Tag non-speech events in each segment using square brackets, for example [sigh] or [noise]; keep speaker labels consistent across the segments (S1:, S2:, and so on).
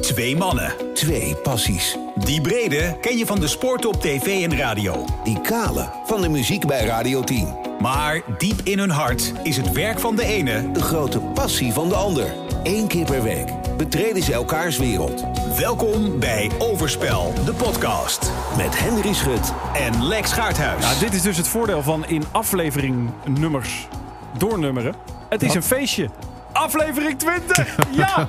S1: Twee mannen.
S2: Twee passies.
S1: Die brede ken je van de sport op tv en radio.
S2: Die kale van de muziek bij Radio 10.
S1: Maar diep in hun hart is het werk van de ene
S2: De grote passie van de ander. Eén keer per week betreden ze elkaars wereld.
S1: Welkom bij Overspel, de podcast.
S2: Met Henry Schut.
S1: En Lex Gaarthuis.
S3: Nou, dit is dus het voordeel van in aflevering nummers doornummeren. Het is een feestje. Aflevering 20!
S4: [laughs]
S3: Ja!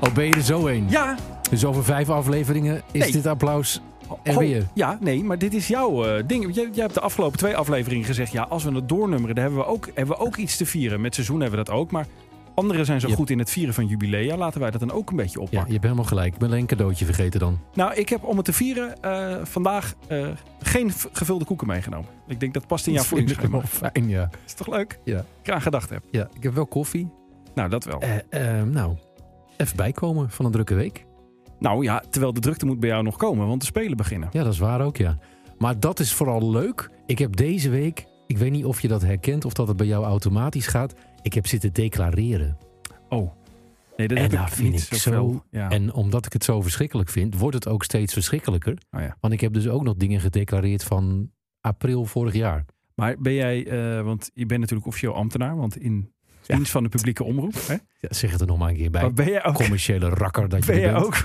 S4: Oh, ben je er zo heen?
S3: Ja!
S4: Dus over vijf afleveringen is
S3: Nee.
S4: dit applaus er
S3: Ho-
S4: weer.
S3: Ja, nee, maar dit is jouw eh, ding. Jij, jij hebt de afgelopen twee afleveringen gezegd... ja, als we het doornummeren, dan hebben we ook, hebben we ook iets te vieren. Met seizoen hebben we dat ook, maar... Anderen zijn zo
S4: Ja.
S3: goed in het vieren van jubilea. Laten wij dat dan ook een beetje
S4: Ja, je
S3: oppakken.
S4: hebt helemaal gelijk. Ik ben alleen een cadeautje vergeten dan.
S3: Nou, ik heb om het te vieren eh, vandaag eh, geen v- gevulde koeken meegenomen. Ik denk dat past in
S4: [laughs]
S3: jouw
S4: Dat vind ik
S3: voedingsschema.
S4: wel fijn, ja.
S3: Is toch leuk?
S4: Ja.
S3: Ik eraan gedacht heb.
S4: ja. Ik heb wel koffie.
S3: Nou, dat wel.
S4: Eh, ehm, nou, even bijkomen van een drukke week.
S3: Nou ja, terwijl de drukte moet bij jou nog komen, want de spelen beginnen.
S4: Ja, dat is waar ook, ja. Maar dat is vooral leuk. Ik heb deze week, ik weet niet of je dat herkent of dat het bij jou automatisch gaat. Ik heb zitten declareren.
S3: Oh. Nee, dat
S4: En
S3: heb ik
S4: dat vind
S3: niet
S4: ik
S3: zoveel.
S4: zo-
S3: Ja.
S4: En omdat ik het zo verschrikkelijk vind, wordt het ook steeds verschrikkelijker.
S3: Oh ja.
S4: Want ik heb dus ook nog dingen gedeclareerd van april vorig jaar.
S3: Maar ben jij, eh, want je bent natuurlijk officieel ambtenaar, want in dienst van de publieke omroep. Hè?
S4: Ja, zeg het er nog maar een keer bij.
S3: Maar ben jij ook,
S4: commerciële rakker dat je
S3: ben jij
S4: bent.
S3: ook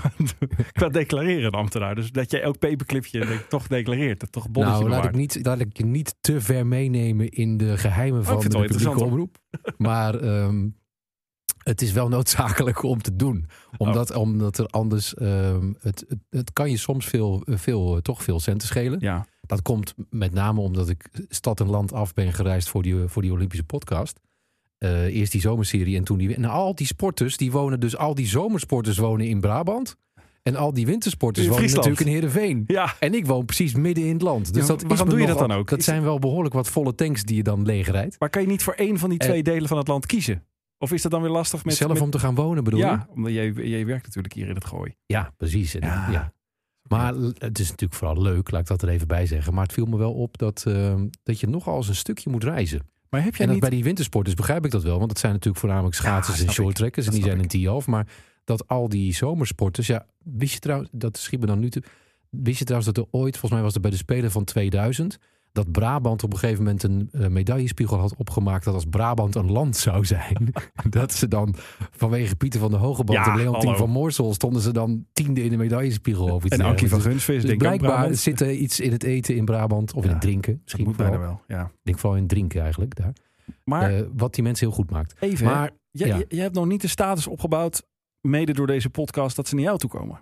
S3: [laughs] qua declareren een ambtenaar? Dus dat jij elk paperclipje denk ik, toch declareert, dat toch bonnetje
S4: nou, laat ik,
S3: bewaart.
S4: niet, laat ik je niet te ver meenemen in de geheimen van
S3: Oh, vind
S4: de
S3: het wel
S4: publieke
S3: interessant,
S4: omroep. Maar ehm, het is wel noodzakelijk om te doen.
S3: Oh.
S4: Omdat, omdat er anders, ehm, het, het, het kan je soms veel, veel, eh, toch veel centen schelen.
S3: Ja,
S4: Dat komt met name omdat ik stad en land af ben gereisd voor die, eh, voor die Olympische podcast. Eh, eerst die zomerserie en toen die... En al die sporters, die wonen dus... Al die zomersporters wonen in Brabant. En al die wintersporters
S3: In
S4: wonen
S3: Friesland.
S4: natuurlijk in Heerenveen.
S3: ja.
S4: En ik woon precies midden in het land. Dus
S3: Ja,
S4: dat is
S3: waarom
S4: me
S3: doe je
S4: nogal-
S3: dat dan ook?
S4: Dat
S3: Is-
S4: zijn wel behoorlijk wat volle tanks die je dan leegrijdt.
S3: Maar kan je niet voor één van die
S4: Eh,
S3: twee delen van het land kiezen? Of is dat dan weer lastig met...
S4: Zelf
S3: met-
S4: om te gaan wonen bedoel je?
S3: Ja, omdat jij, jij werkt natuurlijk hier in het gooi.
S4: Ja, precies. En-
S3: Ja.
S4: Ja. Maar l- het is natuurlijk vooral leuk, laat ik dat er even bij zeggen. Maar het viel me wel op dat, eh, dat je nogal eens een stukje moet reizen.
S3: Maar heb jij
S4: En dat
S3: niet...
S4: bij die wintersporters begrijp ik dat wel. Want het zijn natuurlijk voornamelijk schaatsers en
S3: snap ik.
S4: shorttrekkers. En
S3: Dat
S4: die zijn
S3: snap
S4: in T-half. Maar dat al die zomersporters... Ja, wist je trouwens... Dat schiet me dan nu te... Wist je trouwens dat er ooit... Volgens mij was het bij de Spelen van 2000... Dat Brabant op een gegeven moment een eh, medaillespiegel had opgemaakt... dat als Brabant een land zou zijn... [laughs] dat ze dan vanwege Pieter van der Hogeband
S3: Ja,
S4: en Leontien
S3: hallo.
S4: van Moorsel... stonden ze dan tiende in de medaillespiegel of iets
S3: En Ankie
S4: dergelijks.
S3: van
S4: Dus-
S3: Gunsvis,
S4: dus
S3: denk ik ook
S4: blijkbaar
S3: Brabant.
S4: zit er iets in het eten in Brabant... of in
S3: Ja,
S4: het drinken
S3: Dat
S4: misschien
S3: moet
S4: vooral.
S3: bijna wel, ja.
S4: Ik denk vooral in het drinken eigenlijk daar.
S3: Maar
S4: Eh, wat die mensen heel goed maakt.
S3: even, hè.
S4: Maar
S3: Jij,
S4: Ja.
S3: jij- jij hebt nog niet de status opgebouwd, mede door deze podcast, dat ze naar jou toe komen.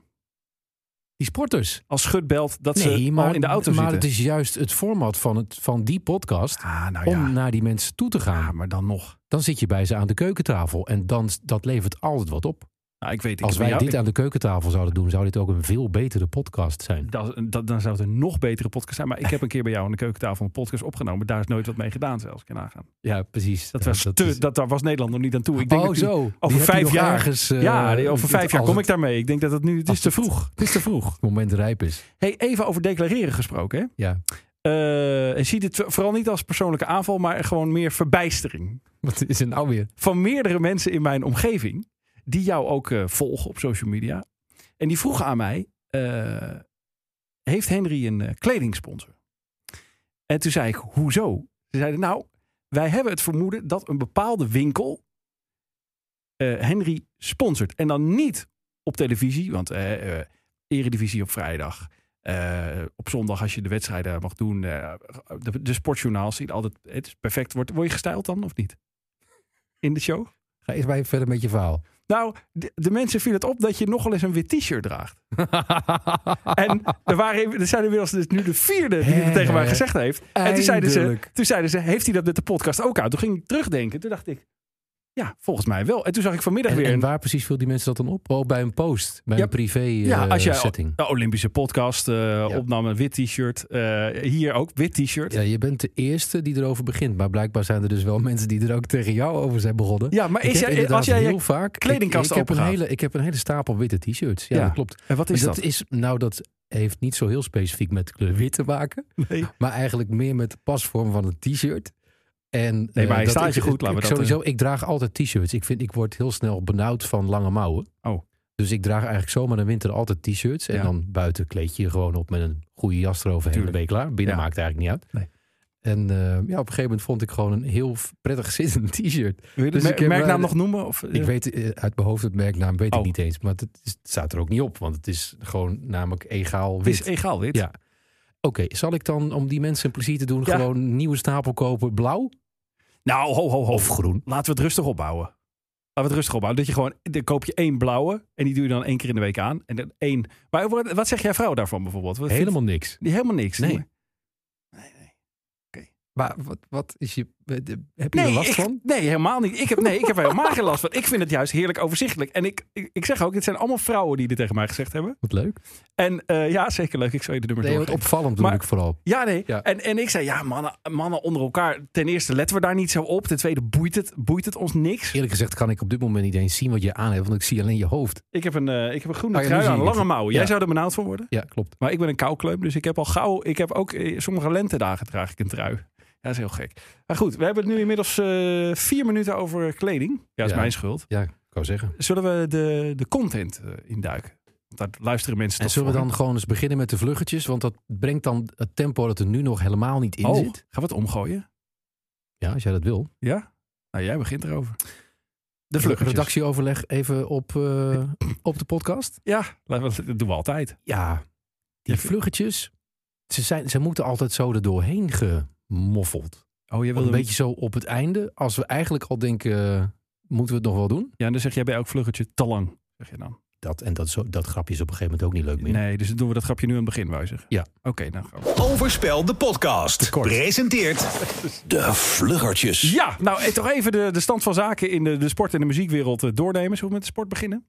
S4: die sporters.
S3: Als Schut belt dat ze al in de auto
S4: maar
S3: zitten.
S4: het is juist het format van, het, van die podcast.
S3: Ah, nou
S4: Om naar die mensen toe te gaan.
S3: Ja, maar dan nog.
S4: Dan zit je bij ze aan de keukentafel. En dan, dat levert altijd wat op.
S3: Nou, ik weet, ik
S4: Als
S3: heb
S4: wij
S3: jou-
S4: dit aan de keukentafel zouden doen, zou dit ook een veel betere podcast zijn.
S3: dat, dat- dan zou het een nog betere podcast zijn. Maar ik heb een keer bij jou aan de keukentafel een podcast opgenomen. Daar is nooit wat mee gedaan, zelfs kan nagaan.
S4: Ja, precies.
S3: Dat was
S4: Ja,
S3: te,
S4: is-
S3: dat, daar was Nederland nog niet aan toe. Ik denk
S4: oh,
S3: dat die-
S4: zo. Die
S3: Over
S4: heb je
S3: vijf
S4: nog
S3: jaar.
S4: ergens, eh,
S3: ja, over vijf jaar
S4: als
S3: kom ik
S4: het
S3: daarmee. Ik denk dat het nu. Het is
S4: als
S3: te
S4: het-
S3: vroeg. Het is te vroeg.
S4: moment rijp is.
S3: Hey, even over declareren gesproken. Hè?
S4: Ja. [laughs]
S3: Eh, en zie dit vooral niet als persoonlijke aanval, maar gewoon meer verbijstering.
S4: Wat is er nou weer?
S3: van meerdere mensen in mijn omgeving. die jou ook eh, volgen op social media. En die vroegen aan mij: eh, Heeft Henry een eh, kledingsponsor? En toen zei ik: Hoezo? Ze zeiden: Nou, wij hebben het vermoeden dat een bepaalde winkel. eh, Henry sponsort. En dan niet op televisie, want eh, eh, Eredivisie op vrijdag. Eh, op zondag, als je de wedstrijden mag doen, eh, de, de sportjournaals zien altijd. Het is perfect. Word, word je gestyled dan of niet? In de show?
S4: Ga eens maar even verder met je verhaal.
S3: [laughs] Nou, de, de mensen viel het op dat je nogal eens een wit t-shirt draagt. En er, waren, er zijn inmiddels dus nu de vierde die het
S4: Hè,
S3: tegen mij
S4: hè.
S3: gezegd heeft. En toen zeiden, ze,
S4: Eindelijk.
S3: toen zeiden ze, heeft hij dat met de podcast ook uit? Toen ging ik terugdenken. Toen dacht ik, ja, volgens mij wel. En toen zag ik vanmiddag
S4: En,
S3: weer
S4: en
S3: een
S4: waar precies viel die mensen dat dan op? Oh, bij een post. Bij
S3: Ja.
S4: een privé
S3: Ja,
S4: eh,
S3: als jij-
S4: setting.
S3: de Olympische podcast eh, opnam. Een wit t-shirt. Eh, hier ook, wit t-shirt.
S4: Ja,
S3: Ja,
S4: je bent de eerste die erover begint. Maar blijkbaar zijn er dus wel mensen die er ook tegen jou over zijn begonnen.
S3: maar
S4: Ik
S3: is
S4: heb
S3: jij,
S4: inderdaad
S3: als jij je
S4: heel vaak ik-
S3: kledingkast
S4: ik, heb een
S3: opengaat.
S4: hele, ik heb een hele stapel witte t-shirts. Ja,
S3: Ja.
S4: dat klopt.
S3: En wat is
S4: Maar
S3: dat?
S4: dat is nou dat heeft niet zo heel specifiek met de kleur wit te maken,
S3: Nee.
S4: maar eigenlijk meer met de pasvorm van het t-shirt. En
S3: Nee,
S4: eh,
S3: maar hij
S4: dat
S3: staat
S4: ik-
S3: je goed,
S4: ik-
S3: laten we
S4: ik
S3: dat, eh,
S4: sowieso, ik draag altijd t-shirts. Ik vind ik word heel snel benauwd van lange mouwen.
S3: Oh.
S4: Dus ik draag eigenlijk zomaar in de winter altijd t-shirts. En
S3: Ja.
S4: dan buiten kleed je je gewoon op met een goede jas eroverheen. Dan ben je klaar. Binnen
S3: Ja.
S4: maakt het eigenlijk niet uit.
S3: Nee.
S4: En eh, ja, op een gegeven moment vond ik gewoon een heel prettig [laughs] zittend t-shirt.
S3: Wil je de
S4: Dus
S3: mer-
S4: ik heb,
S3: merknaam
S4: eh,
S3: nog noemen? Of,
S4: Ik weet eh, uit mijn hoofd het merknaam, weet
S3: Oh.
S4: ik niet eens. Maar het, is- het staat er ook niet op, want het is gewoon namelijk egaal
S3: het is
S4: wit.
S3: egaal wit.
S4: Ja. Oké, zal ik dan om die mensen een plezier te doen
S3: Ja.
S4: gewoon een nieuwe stapel kopen blauw
S3: Nou, ho, ho, ho.
S4: of groen?
S3: Laten we het rustig opbouwen. Laten we het rustig opbouwen. Dat je gewoon, dan koop je één blauwe en die doe je dan één keer in de week aan. En dan één. Maar wat, wat zeg jij vrouw daarvan bijvoorbeeld? Wat vindt-
S4: Helemaal niks.
S3: die helemaal niks.
S4: Nee.
S3: jongen.
S4: Maar wat, wat is je, eh, heb je er
S3: Nee,
S4: last
S3: ik,
S4: van?
S3: nee, helemaal niet. Ik heb, nee, ik heb er helemaal geen last van. Ik vind het juist heerlijk overzichtelijk. En ik, ik, ik zeg ook, het zijn allemaal vrouwen die dit tegen mij gezegd hebben.
S4: Wat leuk.
S3: En eh, ja, zeker leuk. Ik zal je de nummer
S4: Nee, wat
S3: doorgeven.
S4: opvallend
S3: Maar-
S4: doe ik vooral.
S3: Ja, nee.
S4: Ja.
S3: En, en ik zei, ja, mannen, mannen onder elkaar. Ten eerste letten we daar niet zo op. Ten tweede boeit het, boeit het ons niks.
S4: Eerlijk gezegd kan ik op dit moment niet eens zien wat je aan hebt, want ik zie alleen je hoofd.
S3: Ik heb een, eh, ik heb een groene
S4: Ah, ja, nu
S3: trui
S4: zie
S3: aan,
S4: ik het.
S3: lange mouwen. Jij
S4: Ja.
S3: zou er benauwd van worden.
S4: Ja, klopt.
S3: Maar ik ben een koukleum, dus ik heb al gauw... Ik heb ook eh, sommige lentedagen draag ik een trui. Ja, dat is heel gek. Maar goed, we hebben het nu inmiddels eh, vier minuten over kleding. Ja, dat is
S4: Ja.
S3: mijn schuld.
S4: Ja, ik wou zeggen.
S3: Zullen we de, de content eh, induiken? Want daar luisteren mensen
S4: En
S3: toch
S4: zullen we
S3: voor.
S4: dan gewoon eens beginnen met de vluggetjes? Want dat brengt dan het tempo dat er nu nog helemaal niet in
S3: Oh, gaan
S4: zit.
S3: we het omgooien?
S4: Ja, als jij dat wil.
S3: Ja? Nou, jij begint erover.
S4: De
S3: vluggetjes.
S4: Redactieoverleg even op, eh, op de podcast.
S3: Ja, dat doen we
S4: Oh,
S3: altijd.
S4: Ja, die
S3: Ja,
S4: vluggetjes, ze, zijn, ze moeten altijd zo er doorheen gemoffeld.
S3: Oh, jij
S4: Een beetje zo op het einde, als we eigenlijk al denken, eh, moeten we het nog wel doen?
S3: Ja, en dan zeg jij bij elk vluggetje te lang. Zeg je dan.
S4: Dat, en dat, zo, dat grapje is op een gegeven moment ook niet leuk meer.
S3: Nee, dus dan doen we dat grapje nu aan het begin, wou je zeggen?
S4: Ja.
S3: Oké, dan gaan we.
S1: Overspel de podcast.
S3: kort.
S1: Presenteert
S2: De Vluggertjes.
S3: Ja, nou eh, toch even de, de stand van zaken in de, de sport- en de muziekwereld eh, doornemen. Zullen we met de sport beginnen?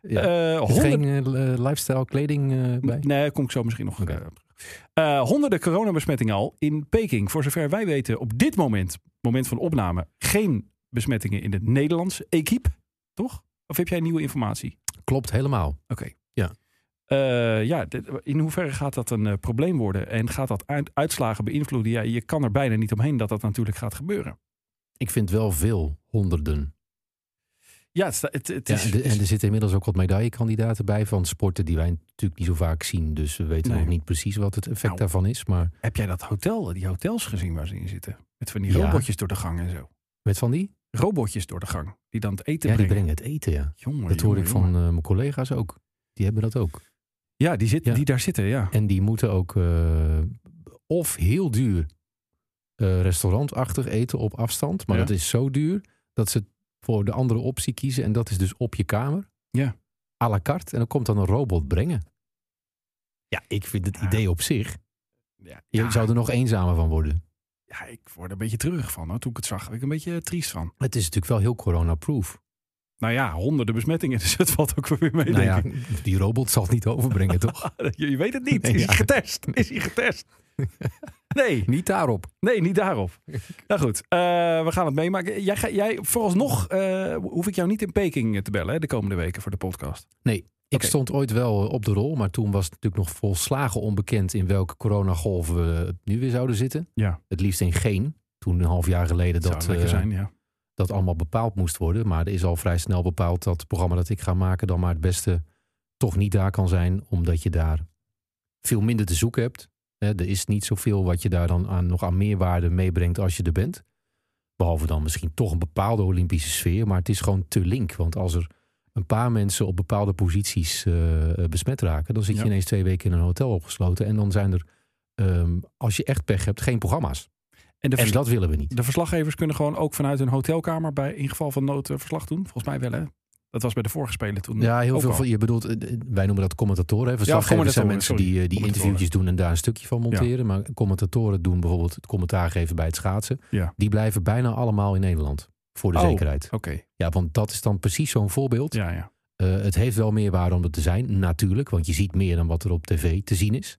S4: Ja.
S3: Eh,
S4: Er zit
S3: honderden-
S4: geen eh, lifestyle kleding eh, bij?
S3: Nee, daar kom ik zo misschien nog
S4: Oké.
S3: eh, op terug. Eh, honderden coronabesmettingen al in Peking. Voor zover wij weten, op dit moment, moment van opname, geen besmettingen in het Nederlands equipe, toch? Of heb jij nieuwe informatie?
S4: Klopt helemaal.
S3: Oké.
S4: Ja.
S3: Eh, ja, dit- in hoeverre gaat dat een eh, probleem worden? En gaat dat uit- uitslagen beïnvloeden? Ja, je kan er bijna niet omheen dat dat natuurlijk gaat gebeuren.
S4: Ik vind wel veel honderden.
S3: Ja, het, sta- het, het
S4: Ja,
S3: is...
S4: en, de- en er zitten inmiddels ook wat medaillekandidaten bij van sporten die wij natuurlijk niet zo vaak zien. Dus we weten
S3: Nee.
S4: nog niet precies wat het effect
S3: Nou.
S4: daarvan is. Maar
S3: Heb jij dat hotel, die hotels gezien waar ze in zitten? Met van die
S4: Ja.
S3: robotjes door de gang en zo.
S4: met van die?
S3: Robotjes door de gang, die dan het eten
S4: ja, die
S3: brengen.
S4: brengen het eten, ja.
S3: Jongen,
S4: Dat hoor
S3: jongen,
S4: ik van
S3: jongen.
S4: eh, mijn collega's ook. Die hebben dat ook.
S3: Ja, die, zit,
S4: Ja.
S3: die daar zitten, ja.
S4: En die moeten ook eh, of heel duur eh, restaurantachtig eten op afstand. Maar
S3: Ja.
S4: dat is zo duur dat ze voor de andere optie kiezen. En dat is dus op je kamer.
S3: Ja.
S4: À la carte. En dan komt dan een robot brengen. Ja, ik vind het
S3: Ja.
S4: idee op zich.
S3: Ja,
S4: Je
S3: ja,
S4: zou er nog eenzamer van worden.
S3: ja, ik word er een beetje treurig van. Hoor. Toen ik het zag, werd ik een beetje eh, triest van.
S4: Het is natuurlijk wel heel corona-proof.
S3: Nou ja, honderden besmettingen, [laughs] dus het valt ook wel weer mee,
S4: Nou
S3: denk
S4: ja,
S3: ik. eh,
S4: die robot zal het
S3: [laughs]
S4: niet overbrengen, toch?
S3: Je, je weet het niet.
S4: Nee,
S3: Is
S4: ja.
S3: hij getest? Is hij getest?
S4: [laughs]
S3: Nee,
S4: Niet daarop.
S3: nee, niet daarop. Nou goed, eh, we gaan het meemaken. Jij, ga- jij, vooralsnog eh, hoef ik jou niet in Peking eh, te bellen hè, de komende weken voor de podcast.
S4: Ik
S3: Oké.
S4: stond ooit wel eh, op de rol, maar toen was het natuurlijk nog volslagen onbekend in welke coronagolf we eh, nu weer zouden zitten.
S3: Ja.
S4: Het liefst in geen. Toen een half jaar geleden
S3: Dat
S4: dat,
S3: zou lekker
S4: eh,
S3: zijn, ja.
S4: dat allemaal bepaald moest worden. Maar er is al vrij snel bepaald dat het programma dat ik ga maken dan maar het beste toch niet daar kan zijn. Omdat je daar veel minder te zoeken hebt. Hè, er is niet zoveel wat je daar dan aan, nog aan meerwaarde meebrengt als je er bent. Behalve dan misschien toch een bepaalde Olympische sfeer. Maar het is gewoon te link. Want als er een paar mensen op bepaalde posities eh, besmet raken... dan zit je
S3: Ja.
S4: ineens twee weken in een hotel opgesloten. En dan zijn er, ehm, als je echt pech hebt, geen programma's.
S3: En de,
S4: En
S3: vers-
S4: dat willen we niet.
S3: de verslaggevers kunnen gewoon ook vanuit hun hotelkamer bij in geval van nood eh, verslag doen. Volgens mij wel, hè? Dat was bij de vorige spelen toen.
S4: Ja, heel
S3: ook
S4: veel.
S3: al.
S4: van- Je bedoelt, eh, wij noemen dat commentatoren. Hè? Verslaggevers zijn
S3: commentatoren,
S4: mensen
S3: sorry.
S4: die, eh, die
S3: Commentatoren.
S4: interviewtjes doen en daar een stukje van monteren. Maar commentatoren doen bijvoorbeeld het commentaar geven bij het schaatsen.
S3: Ja.
S4: Die blijven bijna allemaal in Nederland. Voor de
S3: Oh.
S4: zekerheid.
S3: Oké,
S4: Ja, want dat is dan precies zo'n voorbeeld.
S3: ja, ja.
S4: Eh, het heeft wel meer waarde om het te zijn, natuurlijk. Want je ziet meer dan wat er op tv te zien is.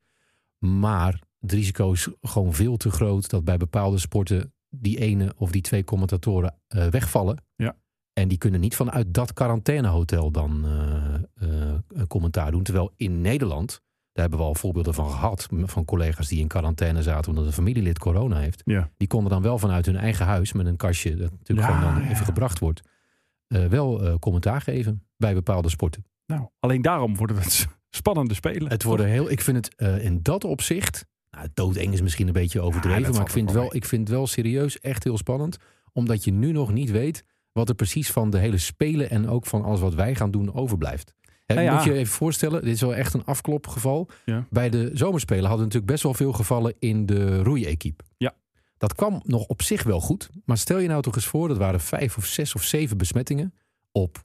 S4: Maar het risico is gewoon veel te groot dat bij bepaalde sporten die ene of die twee commentatoren eh, wegvallen.
S3: Ja.
S4: En die kunnen niet vanuit dat quarantainehotel dan eh, eh, een commentaar doen. Terwijl in Nederland, daar hebben we al voorbeelden van gehad, m- van collega's die in quarantaine zaten omdat een familielid corona heeft.
S3: Ja.
S4: Die konden dan wel vanuit hun eigen huis met een kastje, dat natuurlijk
S3: Ja,
S4: gewoon dan
S3: ja.
S4: even gebracht wordt, eh, wel eh, commentaar geven bij bepaalde sporten.
S3: Nou, alleen daarom worden het [laughs] spannende spelen.
S4: Het worden heel, ik vind het eh, in dat opzicht. Nou, doodeng is misschien een beetje overdreven.
S3: dat
S4: maar
S3: valt
S4: ik vind,
S3: ook
S4: het
S3: wel
S4: wel, ik vind het wel serieus echt heel spannend. Omdat je nu nog niet weet wat er precies van de hele spelen. en ook van alles wat wij gaan doen overblijft. Hè,
S3: Nou ja.
S4: Moet je je even voorstellen, dit is wel echt een afklopgeval.
S3: Ja.
S4: Bij de zomerspelen hadden we natuurlijk best wel veel gevallen in de roeiequipe.
S3: Ja.
S4: Dat kwam nog op zich wel goed. Maar stel je nou toch eens voor, dat waren vijf of zes of zeven besmettingen. op,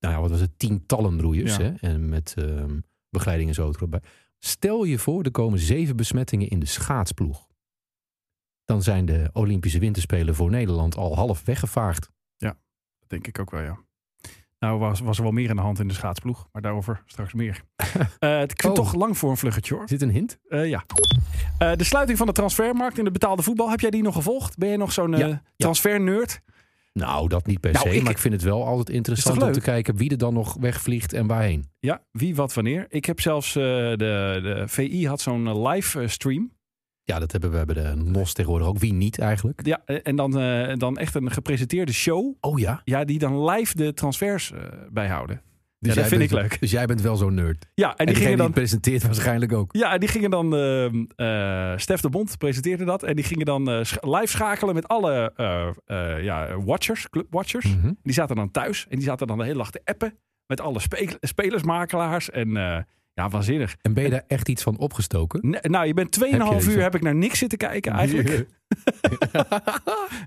S4: nou ja, wat was het, tientallen roeiers.
S3: Ja.
S4: Hè? En met ehm, begeleiding en zo erop bij. Stel je voor, er komen zeven besmettingen in de schaatsploeg. Dan zijn de Olympische Winterspelen voor Nederland al half weggevaagd.
S3: Dat denk ik ook wel, ja. Nou was, was er wel meer aan de hand in de schaatsploeg, maar daarover straks
S4: [laughs]
S3: meer. Eh, het klinkt
S4: Oh.
S3: toch lang voor een vluggetje hoor.
S4: Is dit een hint?
S3: Eh, ja. Eh, de sluiting van de transfermarkt in de betaalde voetbal, heb jij die nog gevolgd? Ben je nog zo'n eh transferneurt?
S4: Nou, dat niet per
S3: Nou,
S4: se.
S3: ik-
S4: maar ik vind het wel altijd interessant
S3: leuk?
S4: om te kijken wie er dan nog wegvliegt en waarheen.
S3: Ja, wie, wat, wanneer. Ik heb zelfs, eh, de, de VI had zo'n eh, live eh, stream.
S4: Ja, dat hebben we bij de NOS tegenwoordig ook. Wie niet eigenlijk?
S3: Ja, eh, en dan, eh, dan echt een gepresenteerde show.
S4: Oh ja.
S3: Ja, die dan live de transfers eh, bijhouden.
S4: Dus
S3: dat
S4: jij
S3: vind
S4: bent-
S3: ik leuk.
S4: Dus jij bent wel zo'n nerd.
S3: Ja, en,
S4: en
S3: die
S4: degene
S3: gingen
S4: die
S3: dan...
S4: het presenteert waarschijnlijk ook.
S3: Ja, en die gingen dan. ehm, eh, Stef de Bond presenteerde dat. En die gingen dan eh, sch- live schakelen met alle eh, eh, ja, watchers, clubwatchers.
S4: Mhm.
S3: Die zaten dan thuis en die zaten dan de hele dag te appen. Met alle spe- spelersmakelaars. En eh, ja, waanzinnig.
S4: En ben je daar echt iets van opgestoken?
S3: N- nou, je bent 2,5
S4: Heb je
S3: uur
S4: even-
S3: heb ik naar niks zitten
S4: [laughs]
S3: kijken [laughs] eigenlijk.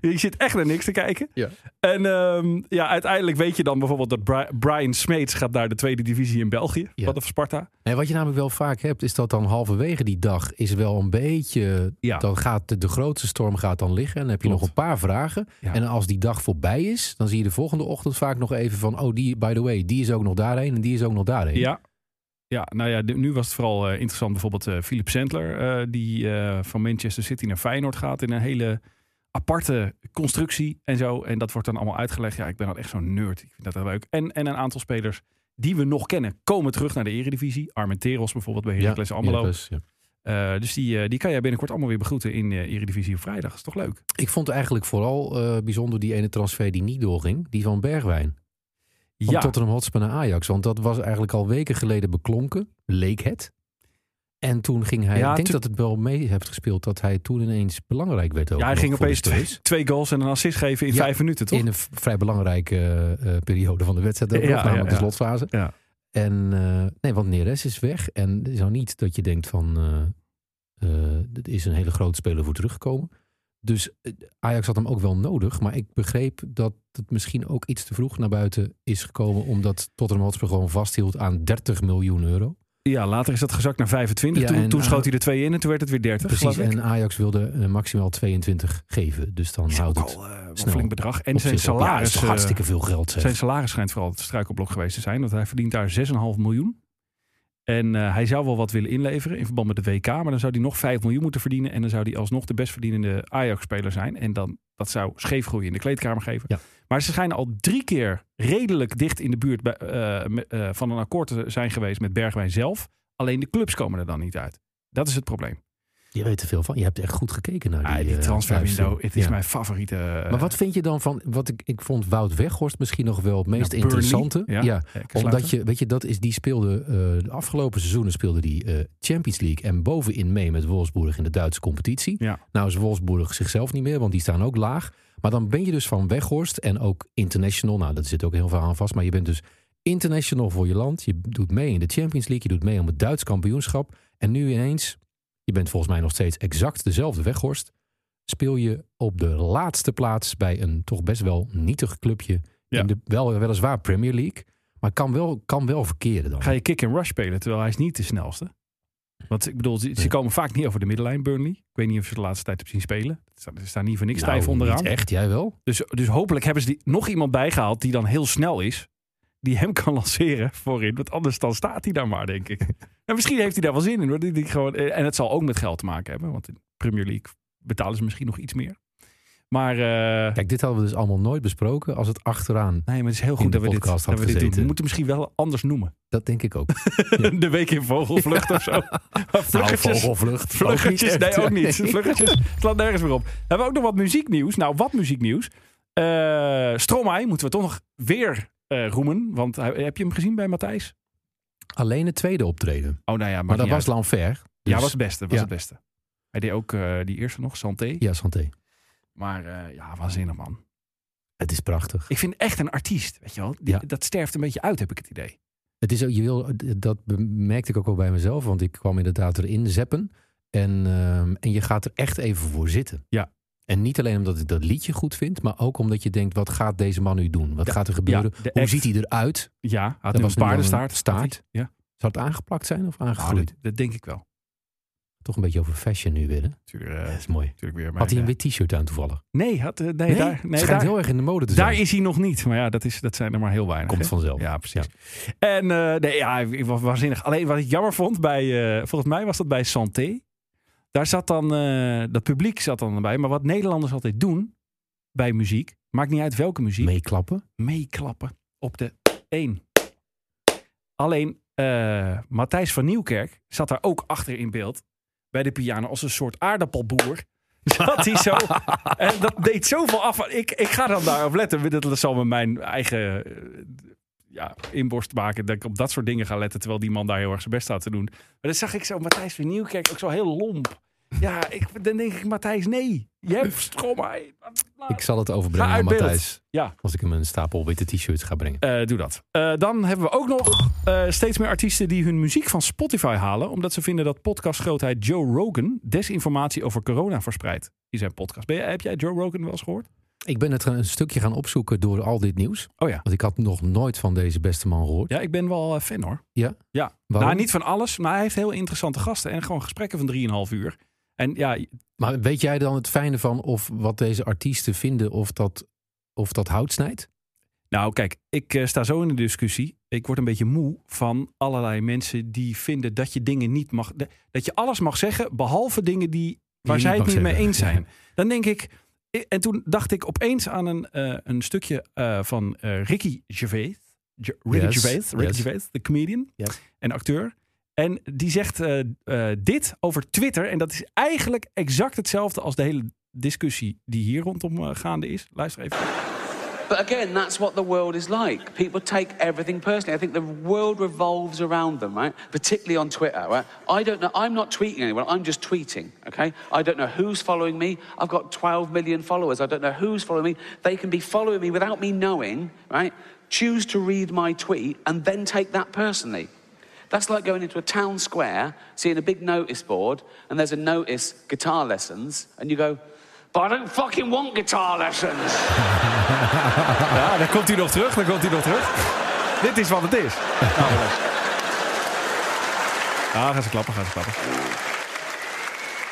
S3: Je zit echt naar niks te kijken.
S4: Ja.
S3: En ehm, ja, uiteindelijk weet je dan bijvoorbeeld dat Bri- Brian Smeets gaat naar de tweede divisie in België.
S4: Ja.
S3: Wat of Sparta.
S4: Nee, wat je namelijk wel vaak hebt, is dat dan halverwege die dag is wel een beetje.
S3: Ja.
S4: Dan gaat de, de grootste storm gaat dan liggen. En dan heb je
S3: Klopt.
S4: nog een paar vragen.
S3: Ja.
S4: En als die dag voorbij is, dan zie je de volgende ochtend vaak nog even van. Oh, die, by the way, die is ook nog daarheen en die is ook nog daarheen.
S3: Ja. Ja, nou ja, de- nu was het vooral eh, interessant. Bijvoorbeeld eh, Philip Sandler, eh, die eh, van Manchester City naar Feyenoord gaat in een hele aparte constructie en zo. En dat wordt dan allemaal uitgelegd. Ja, ik ben dan echt zo'n nerd. Ik vind dat heel leuk. En, en een aantal spelers die we nog kennen, komen terug naar de eredivisie. Armenteros bijvoorbeeld bij Heracles Almelo.
S4: Heracles, ja.
S3: Eh, dus die, eh, die kan jij binnenkort allemaal weer begroeten in eh, Eredivisie op vrijdag. Is toch leuk?
S4: Ik vond eigenlijk vooral eh, bijzonder die ene transfer die niet doorging. Die van Bergwijn. Van
S3: ja,
S4: Tottenham Hotspur naar Ajax. Want dat was eigenlijk al weken geleden beklonken. Leek het. En toen ging hij.
S3: Ja,
S4: ik denk
S3: tu-
S4: dat het wel mee hebt gespeeld dat hij toen ineens belangrijk werd. Ook
S3: ja, hij
S4: nog
S3: ging
S4: voor de
S3: opeens
S4: Spurs.
S3: twee, twee goals en een assist geven in
S4: Ja,
S3: vijf minuten, toch?
S4: In een v- vrij belangrijke eh, eh, periode van de wedstrijd. Ook
S3: Ja,
S4: nog, namelijk
S3: ja,
S4: de
S3: ja.
S4: slotfase.
S3: Ja.
S4: En eh, nee, want Neres is weg. En het is nou niet dat je denkt van... eh, eh, dit is een hele grote speler voor teruggekomen. Dus eh, Ajax had hem ook wel nodig. Maar ik begreep dat het misschien ook iets te vroeg naar buiten is gekomen. Omdat Tottenham Hotspur gewoon vasthield aan 30 miljoen euro.
S3: Ja, later is dat gezakt naar 25.
S4: Ja,
S3: toen
S4: en,
S3: toen
S4: eh,
S3: schoot hij er twee in en toen werd het weer 30.
S4: Precies.
S3: geloof ik.
S4: En Ajax wilde eh, maximaal 22 geven. Dus dan
S3: Is
S4: houdt
S3: ook
S4: het
S3: al, eh, wel
S4: snel
S3: flink bedrag. En
S4: op
S3: zijn
S4: zich op. Ja, is
S3: salaris,
S4: toch
S3: eh,
S4: hartstikke veel geld. Zeg.
S3: zijn salaris schijnt vooral het struikelblok geweest te zijn. Want hij verdient daar 6,5 miljoen. En eh, hij zou wel wat willen inleveren in verband met de WK. Maar dan zou hij nog 5 miljoen moeten verdienen. En dan zou hij alsnog de best verdienende Ajax-speler zijn. En dan, dat zou scheefgroei in de kleedkamer geven.
S4: Ja.
S3: Maar ze schijnen al drie keer redelijk dicht in de buurt bij, eh, me- eh, van een akkoord te zijn geweest met Bergwijn zelf. Alleen de clubs komen er dan niet uit. Dat is het probleem.
S4: Je weet er veel van. Je hebt echt goed gekeken naar die,
S3: Ah, die
S4: eh,
S3: transferwindow,
S4: uitzending.
S3: het is
S4: Ja.
S3: mijn favoriete. eh,
S4: Maar wat vind je dan van... Wat ik, ik vond Wout Weghorst misschien nog wel het meest
S3: Burnley,
S4: interessante.
S3: ja. eh,
S4: omdat
S3: sluiter.
S4: je, weet je, dat is, die speelde eh, de afgelopen seizoenen speelde die eh, Champions League en bovenin mee met Wolfsburg in de Duitse competitie.
S3: Ja.
S4: Nou is Wolfsburg zichzelf niet meer, want die staan ook laag. Maar dan ben je dus van Weghorst en ook international. Nou, dat zit ook heel veel aan vast. Maar je bent dus international voor je land. Je doet mee in de Champions League. Je doet mee om het Duits kampioenschap. En nu ineens, je bent volgens mij nog steeds exact dezelfde Weghorst. Speel je op de laatste plaats bij een toch best wel nietig clubje.
S3: Ja.
S4: In de, wel, weliswaar Premier League. Maar kan wel, kan wel verkeren dan.
S3: ga je kick and rush spelen, terwijl hij is niet de snelste. Want ik bedoel, ze, ze
S4: Nee.
S3: komen vaak niet over de middenlijn, Burnley. Ik weet niet of ze de laatste tijd hebben zien spelen. Ze staan- Ze staan niet voor niks
S4: Nou,
S3: stijf onderaan.
S4: niet echt, jij wel?
S3: Dus, dus hopelijk hebben ze die, nog iemand bijgehaald die dan heel snel is. Die hem kan [laughs] lanceren voorin. Want anders dan staat hij daar maar, denk
S4: [laughs]
S3: ik. en misschien heeft hij daar wel zin in. Hoor. Die, die gewoon, eh, en het zal ook met geld te maken hebben. Want in de Premier League betalen ze misschien nog iets meer. Maar... eh,
S4: Kijk, dit hadden we dus allemaal nooit besproken. Als het achteraan,
S3: Nee, maar het is heel goed
S4: de
S3: dat we, dit,
S4: podcast had
S3: dat we dit doen.
S4: gezeten.
S3: We moeten misschien wel anders noemen.
S4: dat denk
S3: [laughs]
S4: ik ook.
S3: De week in vogelvlucht of zo.
S4: [laughs]
S3: Maar
S4: Nou,
S3: Vluggetjes, [laughs]
S4: vogelvlucht.
S3: vluggetjes,
S4: ook niet
S3: nee
S4: echt.
S3: ook niet. Vluggetjes, het slaat nergens meer op. Hebben we ook nog wat muzieknieuws? Nou, wat muzieknieuws? Eh Stromae moeten we toch nog weer eh, roemen. Want hij- heb je hem gezien bij Matthijs?
S4: [laughs] Alleen het tweede optreden. Maar,
S3: Oh, nou ja,
S4: dat was Lanfer. Dus,
S3: Ja, was het beste. Was
S4: Ja.
S3: het beste. Hij deed ook eh, die eerste nog, Santé.
S4: ja, Santé.
S3: Maar eh, ja, waanzinnig man.
S4: Het is prachtig.
S3: Ik vind echt een artiest, weet je wel. Die-
S4: Ja.
S3: Dat sterft een beetje uit, heb ik het idee.
S4: Het is ook, je wil, dat merkte ik ook wel bij mezelf, want ik kwam inderdaad erin zeppen. En, ehm, en je gaat er echt even voor zitten.
S3: Ja.
S4: En niet alleen omdat ik dat liedje goed vind, maar ook omdat je denkt: wat gaat deze man nu doen? Wat
S3: Ja,
S4: gaat er gebeuren?
S3: ja, de
S4: Hoe
S3: act.
S4: ziet hij eruit?
S3: Ja, had
S4: nu
S3: nu een
S4: was nu wel een
S3: paardenstaart.
S4: staart.
S3: Ja,
S4: Zou het aangeplakt zijn of
S3: Nou,
S4: aangegroeid?
S3: dat, dat denk ik wel.
S4: Toch een beetje over fashion nu weer. Hè?
S3: Natuurlijk,
S4: dat
S3: eh,
S4: is mooi.
S3: natuurlijk weer.
S4: Had hij een
S3: mijn,
S4: wit t-shirt aan toevallig?
S3: eh, Nee, had, eh, nee, daar,
S4: het
S3: nee
S4: schijnt
S3: daar,
S4: heel erg in de mode te
S3: daar
S4: zijn.
S3: is hij nog niet. Maar ja, dat, is, dat zijn er maar heel weinig.
S4: Komt
S3: hè?
S4: vanzelf.
S3: Ja, precies. En eh, nee, ja, ik was waanzinnig. Alleen wat ik jammer vond, bij, eh, volgens mij was dat bij Santé. Daar zat dan, eh, dat publiek zat dan bij. Maar wat Nederlanders altijd doen bij muziek, maakt niet uit welke muziek,
S4: Meeklappen.
S3: meeklappen op de 1. Alleen eh, Matthijs van Nieuwkerk zat daar ook achter in beeld bij de piano als een soort aardappelboer. [laughs] Zat hij zo. En dat deed zoveel af. Ik, ik ga dan daarop letten. Dat zal me mijn eigen eh, ja, inborst maken. Dat ik op dat soort dingen ga letten. Terwijl die man daar heel erg zijn best staat te doen. Maar dan zag ik zo Matthijs van Nieuwkerk ook zo heel lomp. Ja, ik, dan denk ik, Matthijs, nee. Je hebt stromma.
S4: Ik zal het overbrengen
S3: Ga
S4: aan
S3: uit beeld.
S4: Matthijs.
S3: Ja.
S4: Als ik hem een stapel witte t-shirts ga brengen.
S3: Eh, doe dat. Eh, dan hebben we ook nog eh, steeds meer artiesten die hun muziek van Spotify halen. Omdat ze vinden dat podcastgrootheid Joe Rogan desinformatie over corona verspreidt. In zijn podcast. Ben jij- heb jij Joe Rogan wel eens gehoord?
S4: Ik ben het gaan- een stukje gaan opzoeken door al dit nieuws.
S3: Oh ja.
S4: Want ik had nog nooit van deze beste man gehoord.
S3: Ja, ik ben wel eh, fan hoor.
S4: Ja?
S3: Ja.
S4: Waarom?
S3: Nou, niet van alles. Maar hij heeft heel interessante gasten. En gewoon gesprekken van 3,5 uur. En ja,
S4: Maar weet jij dan het fijne van of wat deze artiesten vinden of dat, of dat hout snijdt?
S3: Nou, kijk, ik eh, sta zo in de discussie. Ik word een beetje moe van allerlei mensen die vinden dat je dingen niet mag. de- Dat je alles mag zeggen, behalve dingen die, waar
S4: niet
S3: zij het
S4: mag
S3: niet mee
S4: zeggen.
S3: eens zijn. Dan denk ik. i- En toen dacht ik opeens aan een, eh, een stukje eh, van eh, Ricky Gervais. Ge- Ricky
S4: Yes,
S3: Gervais, Ricky
S4: yes.
S3: Gervais, de comedian
S4: Yes.
S3: en acteur. En die zegt eh, eh, dit over Twitter. En dat is eigenlijk exact hetzelfde als de hele discussie die hier rondom eh, gaande is. Luister even.
S5: But again, that's what the world is like. People take everything personally. I think the world revolves around them, right? Particularly on Twitter, right? I don't know. I'm not tweeting anyone. I'm just tweeting, okay? I don't know who's following me. I've got 12 million followers. I don't know who's following me. They can be following me without me knowing, right? Choose to read my tweet and then take that personally. That's like going into a town square, seeing a big notice board, and there's a notice guitar lessons, and you go, but I don't fucking want guitar lessons.
S3: Ja, daar komt hij nog terug. Daar komt hij nog terug. Dit is wat het is. Nou, goed. Ah, gaan ze klappen, gaan ze klappen.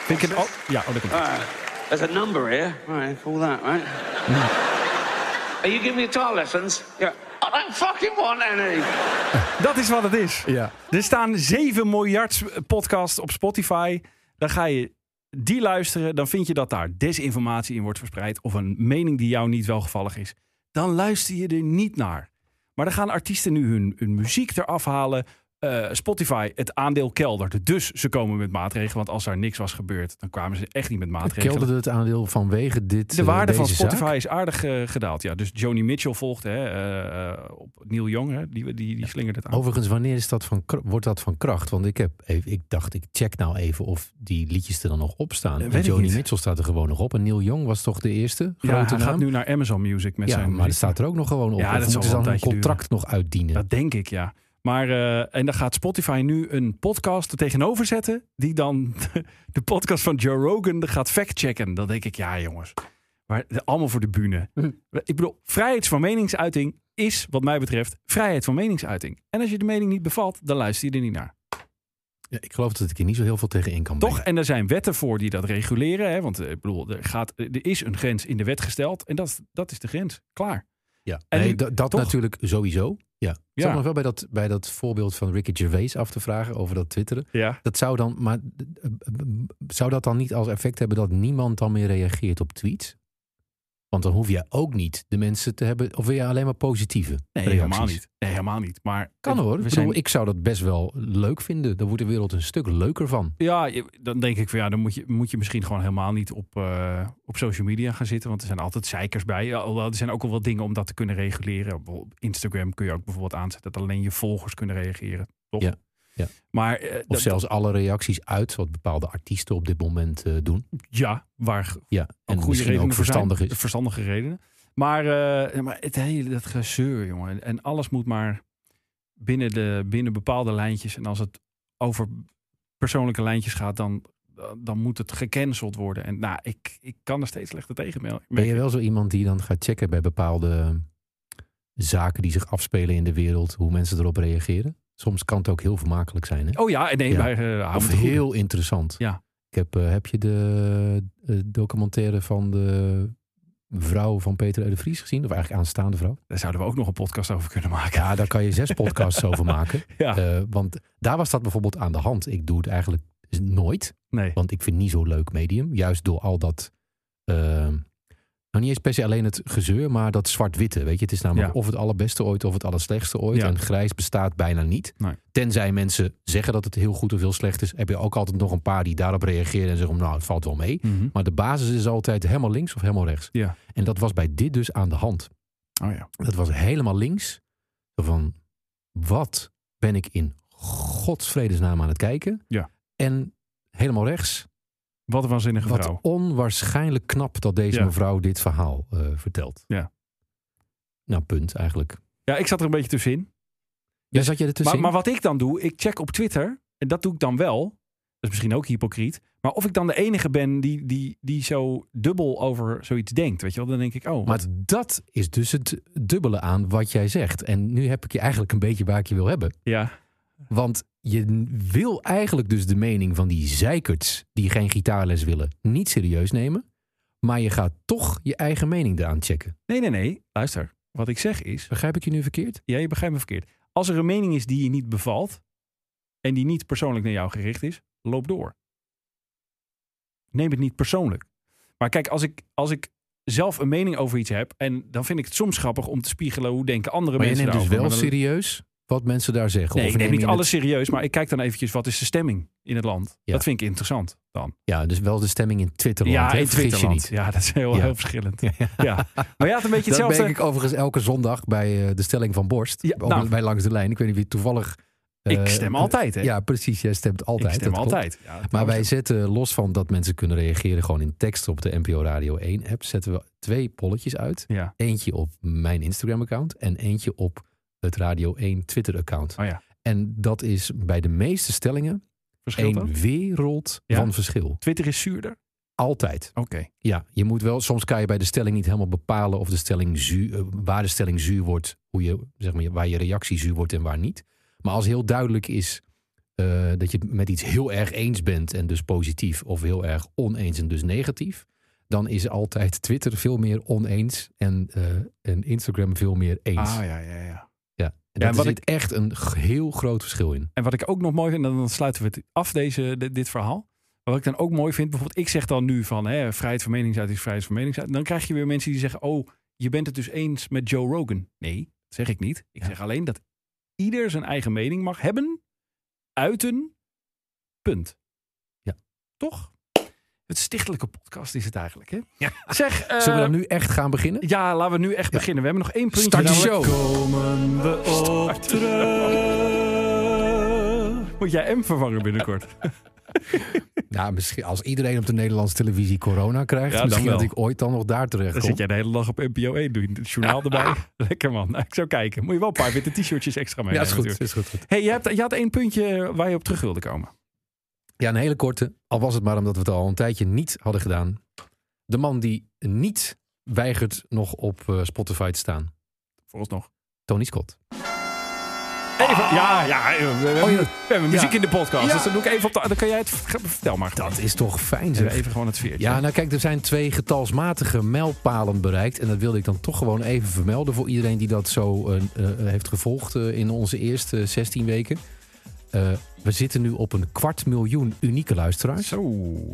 S3: Vind ik het... Oh, ja, oh, daar komt hij.
S5: Alright. There's a number here. Right, call that, right? Are you giving me guitar lessons? Yeah. I don't fucking want any.
S3: Dat is wat het is.
S4: Ja.
S3: Er staan 7 miljard podcasts op Spotify. Dan ga je die luisteren. Dan vind je dat daar desinformatie in wordt verspreid. Of een mening die jou niet welgevallig is. Dan luister je er niet naar. Maar dan gaan artiesten nu hun, hun muziek eraf halen. Eh, Spotify, het aandeel keldert. Dus ze komen met maatregelen. Want als daar niks was gebeurd, dan kwamen ze echt niet met maatregelen.
S4: Kelderde het aandeel vanwege dit
S3: De
S4: eh,
S3: waarde van
S4: deze zaak?
S3: Spotify is aardig eh, gedaald. Ja, dus Joni Mitchell volgt hè, eh, eh, op Neil Young. Hè, die, die, die slingert het aan.
S4: Overigens, wanneer is dat van, kr- wordt dat van kracht? Want ik, heb, even- ik dacht, ik check nou even of die liedjes er dan nog op staan.
S3: Eh, weet
S4: en
S3: ik
S4: Joni
S3: niet.
S4: Mitchell staat er gewoon nog op. En Neil Young was toch de eerste
S3: ja, hij
S4: grote naam?
S3: gaat nu naar Amazon Music met
S4: ja,
S3: zijn
S4: maar
S3: muziek.
S4: er staat er ook nog gewoon op.
S3: Ja,
S4: Of
S3: dat zal
S4: moeten ze
S3: wel een
S4: dan hun
S3: tijdje
S4: contract nog uitdienen?
S3: Dat denk ik, ja. Maar, eh, en dan gaat Spotify nu een podcast er tegenover zetten. Die dan [laughs] de podcast van Joe Rogan gaat factchecken. Dan denk ik, ja jongens. Maar de- allemaal voor de bühne.
S4: Hm.
S3: Ik bedoel, vrijheid van meningsuiting is wat mij betreft vrijheid van meningsuiting. En als je de mening niet bevalt, dan luister je er niet naar.
S4: Ja, ik geloof dat ik er niet zo heel veel tegen in kan
S3: Toch?
S4: brengen.
S3: En er zijn wetten voor die dat reguleren. Hè? Want eh, ik bedoel, er, gaat, er is een grens in de wet gesteld. En dat, is- dat is de grens. Klaar.
S4: Ja.
S3: En
S4: nee,
S3: nu-
S4: dat dat
S3: toch?
S4: natuurlijk sowieso. Ja. Ik
S3: Ja.
S4: zat nog wel bij dat, bij dat voorbeeld van Ricky Gervais af te vragen over dat twitteren.
S3: Ja.
S4: Dat zou dan, maar eh, eh, eh, zou dat dan niet als effect hebben dat niemand dan meer reageert op tweets? Want dan hoef je ook niet de mensen te hebben, of wil je alleen maar positieve
S3: Nee,
S4: reacties?
S3: helemaal niet. Nee, helemaal niet. Maar
S4: Kan hoor. Ik,
S3: We
S4: bedoel,
S3: zijn,
S4: ik zou dat best wel leuk vinden. Dan wordt de wereld een stuk leuker van.
S3: ja, je- dan denk ik van ja, dan moet je, moet je misschien gewoon helemaal niet op, eh, op social media gaan zitten. Want er zijn altijd zeikers bij. Ja, Alhoewel, er zijn ook al wel dingen om dat te kunnen reguleren. Op Instagram kun je ook bijvoorbeeld aanzetten dat alleen je volgers kunnen reageren. Toch?
S4: Ja, ja.
S3: Maar eh,
S4: Of
S3: dat-
S4: zelfs alle reacties uit wat bepaalde artiesten op dit moment eh, doen.
S3: ja, waar
S4: Ja, en
S3: goede
S4: misschien
S3: redenen
S4: ook
S3: voor zijn.
S4: verstandig is.
S3: Verstandige redenen. Maar, eh, ja, maar het hele dat gezeur, jongen. En alles moet maar binnen, de, binnen bepaalde lijntjes. En als het over persoonlijke lijntjes gaat, dan, dan moet het gecanceld worden. En nou, ik, ik kan er steeds slechter tegen. merk
S4: Ben je
S3: ik.
S4: wel zo iemand die dan gaat checken bij bepaalde ehm, zaken die zich afspelen in de wereld, hoe mensen erop reageren? Soms kan het ook heel vermakelijk zijn. Hè?
S3: Oh ja, nee,
S4: Ja.
S3: bij eh, Haven
S4: of
S3: de Hoek.
S4: heel interessant.
S3: Ja.
S4: Ik heb, eh, heb je de eh, documentaire van de vrouw van Peter R. de Vries gezien? Of eigenlijk aanstaande
S3: [laughs]
S4: vrouw?
S3: Daar zouden we ook nog een podcast over kunnen maken.
S4: Ja, daar kan je zes podcasts over maken.
S3: [laughs] Ja.
S4: Eh, want daar was dat bijvoorbeeld aan de hand. Ik doe het eigenlijk nooit.
S3: Nee.
S4: Want ik vind niet zo'n leuk medium. Juist door al dat. eh, nou, niet eens per se alleen het gezeur, maar dat zwart-witte. Weet je, het is namelijk
S3: Ja.
S4: of het allerbeste ooit of het allerslechtste ooit.
S3: Ja.
S4: En grijs bestaat bijna niet.
S3: Nee.
S4: Tenzij mensen zeggen dat het heel goed of heel slecht is. Heb je ook altijd nog een paar die daarop reageren en zeggen: Nou, het valt wel mee.
S3: Mhm.
S4: Maar de basis is altijd helemaal links of helemaal rechts.
S3: Ja.
S4: En dat was bij dit dus aan de hand.
S3: Oh ja.
S4: Dat was helemaal links. Zo Van wat ben ik in godsvredesnaam aan het kijken?
S3: Ja.
S4: En helemaal rechts.
S3: Wat een waanzinnige
S4: Wat
S3: vrouw.
S4: onwaarschijnlijk knap dat deze
S3: Ja.
S4: mevrouw dit verhaal eh, vertelt.
S3: Ja.
S4: Nou, punt eigenlijk.
S3: Ja, ik zat er een beetje tussenin.
S4: Ja, zat je er
S3: Maar,
S4: tussenin?
S3: maar wat ik dan doe, ik check op Twitter. En dat doe ik dan wel. Dat is misschien ook hypocriet. Maar of ik dan de enige ben die, die, die zo dubbel over zoiets denkt. Weet je wel, dan denk ik, oh,
S4: Maar
S3: wat-
S4: dat is dus het dubbele aan wat jij zegt. En nu heb ik je eigenlijk een beetje waar ik je wil hebben.
S3: ja.
S4: Want je wil eigenlijk dus de mening van die zeikerts die geen gitaarles willen niet serieus nemen. Maar je gaat toch je eigen mening eraan checken.
S3: Nee, nee, nee. Luister. Wat ik zeg is,
S4: Begrijp ik je nu verkeerd?
S3: ja, je begrijpt me verkeerd. Als er een mening is die je niet bevalt. En die niet persoonlijk naar jou gericht is, loop door. Neem het niet persoonlijk. Maar kijk, als ik, als ik zelf een mening over iets heb. En dan vind ik het soms grappig om te spiegelen hoe denken andere
S4: Maar je
S3: mensen
S4: neemt dus
S3: daarover.
S4: wel
S3: Maar dan-
S4: serieus wat mensen daar zeggen.
S3: Nee,
S4: Of
S3: ik neem
S4: neem
S3: niet
S4: je het-
S3: alles serieus, maar ik kijk dan eventjes wat is de stemming in het land.
S4: Ja.
S3: Dat vind ik interessant dan.
S4: Ja, dus wel de stemming in Twitterland.
S3: ja,
S4: hè?
S3: in
S4: Vergis je
S3: Twitterland.
S4: niet.
S3: Ja, dat is heel,
S4: [laughs] Ja.
S3: heel verschillend. Ja. Maar ja, het een beetje
S4: Dat
S3: hetzelfde.
S4: ben ik overigens elke zondag bij eh, de stelling van Borst.
S3: Ja,
S4: Ook
S3: nou.
S4: bij Langs de Lijn. Ik weet niet wie toevallig... eh,
S3: Ik stem altijd, hè?
S4: Ja, precies. Jij stemt altijd.
S3: ik stem
S4: dat klopt.
S3: altijd. Nou, Ja,
S4: Maar wij
S3: trouwens,
S4: zetten, los van dat mensen kunnen reageren... gewoon in tekst op de NPO Radio 1 app... zetten we twee polletjes uit.
S3: Ja.
S4: Eentje op mijn Instagram-account... en eentje op het Radio 1 Twitter-account.
S3: Oh ja,
S4: En dat is bij de meeste stellingen...
S3: verschilt dat?
S4: een wereld
S3: Ja.
S4: van verschil.
S3: Twitter is zuurder?
S4: Altijd.
S3: Oké.
S4: Ja, je moet wel, soms kan je bij de stelling niet helemaal bepalen of de stelling zuur, eh, waar de stelling zuur wordt, hoe je, zeg maar, waar je reactie zuur wordt en waar niet. Maar als heel duidelijk is eh, dat je het met iets heel erg eens bent en dus positief, of heel erg oneens en dus negatief, dan is altijd Twitter veel meer oneens en, eh, en Instagram veel meer eens.
S3: Ah, ja, ja, ja.
S4: en
S3: ja,
S4: daar
S3: en wat
S4: zit echt een g- heel groot verschil in.
S3: En wat ik ook nog mooi vind, en dan sluiten we het af, deze, dit, dit verhaal. Wat ik dan ook mooi vind, bijvoorbeeld, ik zeg dan nu van hè, vrijheid van meningsuiting is vrijheid van meningsuiting. Dan krijg je weer mensen die zeggen: Oh, je bent het dus eens met Joe Rogan. Nee, dat zeg ik niet. Ik zeg alleen dat ieder zijn eigen mening mag hebben, uiten, punt.
S4: Ja.
S3: Toch? Het stichtelijke podcast is het eigenlijk, hè? [laughs] Zeg, eh,
S4: Zullen we dan nu echt gaan beginnen?
S3: ja, laten we nu echt beginnen. We hebben nog één puntje.
S4: Start de
S3: namelijk-
S4: show!
S3: Start de show. [laughs] Moet jij M vervangen binnenkort?
S4: Nou, misschien als iedereen op de Nederlandse televisie corona krijgt,
S3: Ja, dan
S4: misschien
S3: wel.
S4: dat ik ooit dan nog daar terecht
S3: Dan
S4: kom.
S3: zit jij de hele dag op NPO 1, doe je het [laughs] journaal erbij. Lekker man, Nou, ik zou kijken. Moet je wel een paar witte t-shirtjes extra mee
S4: Ja, is
S3: hebben
S4: goed,
S3: natuurlijk.
S4: is goed, goed.
S3: Hey, je, hebt, je had één puntje waar je op terug wilde komen.
S4: Ja, een hele korte. Al was het maar omdat we het al een tijdje niet hadden gedaan. De man die niet weigert nog op eh, Spotify te staan.
S3: Vooralsnog.
S4: Tony Scott.
S3: Even, ja, ja, we hebben,
S4: Oh, ja.
S3: we hebben muziek
S4: Ja.
S3: in de podcast.
S4: Ja.
S3: Dus dan doe ik even op de... Dan kan jij het... Vertel maar.
S4: Dat is toch fijn
S3: Even,
S4: zeg.
S3: even gewoon het veertje.
S4: Ja, nou kijk, er zijn twee getalsmatige mijlpalen bereikt. En dat wilde ik dan toch gewoon even vermelden voor iedereen die dat zo eh, eh, heeft gevolgd eh, in onze eerste 16 weken. Eh, we zitten nu op een kwart miljoen unieke luisteraars.
S3: Zo,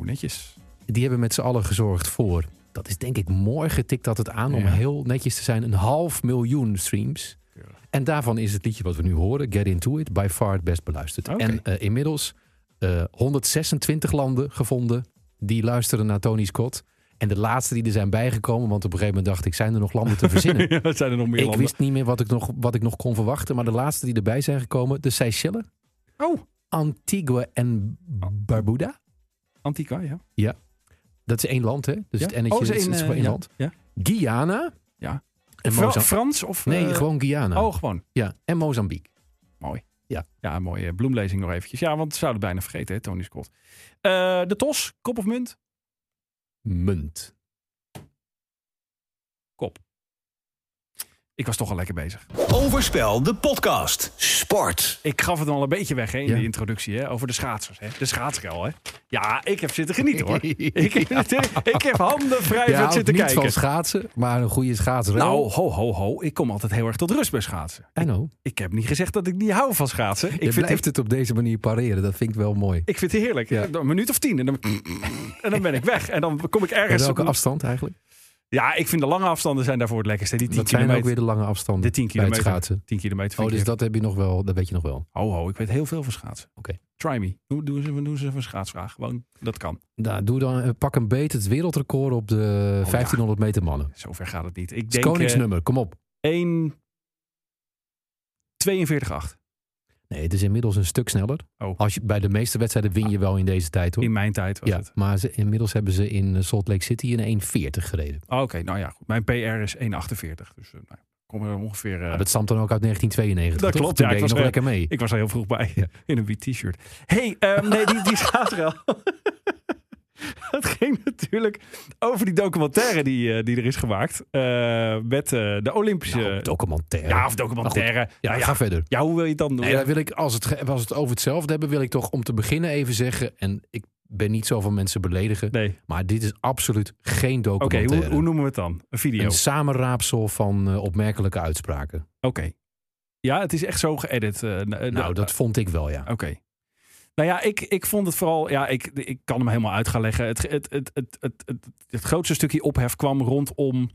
S3: netjes.
S4: die hebben met z'n allen gezorgd voor. Dat is denk ik morgen tikt dat het aan om
S3: Ja.
S4: heel netjes te zijn. Een half miljoen streams. En daarvan is het liedje wat we nu horen, Get Into It, by far het best beluisterd.
S3: Oké.
S4: En eh, inmiddels eh, 126 landen gevonden die luisteren naar Tony Scott. En de laatste die er zijn bijgekomen, want op een gegeven moment dacht ik, zijn er nog landen te verzinnen?
S3: [laughs] Ja, dat [laughs] zijn er nog meer
S4: ik
S3: landen.
S4: wist niet meer wat ik, nog, wat ik nog kon verwachten, maar de laatste die erbij zijn gekomen, de Seychellen,
S3: Oh,
S4: Antigua en Barbuda.
S3: Antica, ja.
S4: Ja. Dat is één land, hè? Dus
S3: ja.
S4: het ennetje
S3: Oh,
S4: is,
S3: ze in,
S4: is
S3: eh,
S4: gewoon één
S3: ja,
S4: land.
S3: Ja.
S4: Guyana.
S3: ja.
S4: En
S3: Fra-
S4: Mozambique.
S3: Frans of...
S4: Nee,
S3: eh,
S4: gewoon Guyana.
S3: Oh, gewoon.
S4: Ja, en Mozambique.
S3: Mooi.
S4: Ja.
S3: Ja, mooie bloemlezing nog eventjes. Ja, want ze zouden het bijna vergeten, hè, Tony Scott. Eh, de TOS, kop of munt?
S4: Munt.
S3: Kop. Ik was toch al lekker bezig.
S1: Overspel, de podcast.
S2: Sport.
S3: Ik gaf het al een beetje weg hè, in
S4: Ja.
S3: de introductie hè, over de schaatsers. Hè. De schaatsrel. Hè. Ja, ik heb zitten genieten
S4: [laughs]
S3: hoor. ik, heb, ik heb handen vrij
S4: Ja,
S3: van
S4: niet
S3: zitten
S4: van
S3: kijken.
S4: schaatsen, maar een goede schaatsrel.
S3: Nou, ho, ho, ho. Ik kom altijd heel erg tot rust bij schaatsen.
S4: I know.
S3: Ik heb niet gezegd dat ik niet hou van schaatsen. Ik
S4: Je
S3: vind,
S4: blijft
S3: het,
S4: het op deze manier pareren. Dat vind ik wel mooi.
S3: ik vind het heerlijk.
S4: Ja.
S3: Een minuut of tien en
S4: [laughs]
S3: dan, en dan ben ik weg. En dan kom ik
S4: En
S3: ergens...
S4: welke
S3: op-
S4: afstand eigenlijk?
S3: Ja, ik vind de lange afstanden zijn daarvoor het lekkerste. Die 10
S4: Dat zijn ook
S3: kilometer.
S4: weer de lange afstanden
S3: de 10
S4: bij het
S3: kilometer.
S4: schaatsen.
S3: 10 kilometer. vind
S4: Oh,
S3: ik
S4: dus dat heb je nog wel. Dat weet je nog wel.
S3: Ho, ho, ik weet heel veel van schaatsen.
S4: Oké.
S3: Try me. Doe, doe, eens, even- doe eens even een schaatsvraag. Gewoon, dat kan.
S4: Nou, doe dan, eh, pak een beet het wereldrecord op de 1500 meter mannen.
S3: Zover gaat het niet. Ik
S4: Het is
S3: Oh, denk eh,
S4: koningsnummer, kom op.
S3: 1... 42,8
S4: Nee, het is inmiddels een stuk sneller.
S3: Oh.
S4: Als je, bij de meeste wedstrijden win je wel in deze tijd hoor.
S3: in mijn tijd was
S4: ja,
S3: het.
S4: maar ze, inmiddels hebben ze in eh, Salt Lake City een 1,40 gereden.
S3: Oh, Oké, nou ja, goed. Mijn PR is 1,48. Dus eh, nou, kom er ongeveer... eh,
S4: Maar Ah, dat stamt dan ook uit 1992.
S3: Dat
S4: toch?
S3: klopt,
S4: Toen
S3: ja, ik
S4: deed je
S3: was
S4: nog
S3: er-
S4: lekker mee.
S3: Ik was er heel vroeg bij.
S4: Ja.
S3: [laughs] In een wit t-shirt. hey, ehm, nee, die, die schaatsrel. [laughs] Het ging natuurlijk over die documentaire die, eh, die er is gemaakt. eh, met eh, de Olympische...
S4: Nou, documentaire. Nou,
S3: ja, of documentaire.
S4: Ja,
S3: ja, ja.
S4: ga verder.
S3: Ja, hoe wil je het dan doen?
S4: Nee, dan wil ik, als, het, ge- als het over hetzelfde hebben, wil ik toch om te beginnen even zeggen. En ik ben niet zo van mensen beledigen.
S3: Nee.
S4: Maar dit is absoluut geen
S3: Oké,
S4: documentaire.
S3: hoe, hoe noemen we het dan? Een video.
S4: Een
S3: Oké.
S4: samenraapsel van eh, opmerkelijke uitspraken.
S3: Ja, het is echt zo geëdit. eh, n- eh,
S4: Nou,
S3: de- eh,
S4: dat vond ik wel, ja.
S3: Oké. Nou ja, ik, ik vond het vooral... Ja, ik, ik kan hem helemaal uit gaan leggen. Het, het, het, het, het, het, het grootste stukje ophef kwam rondom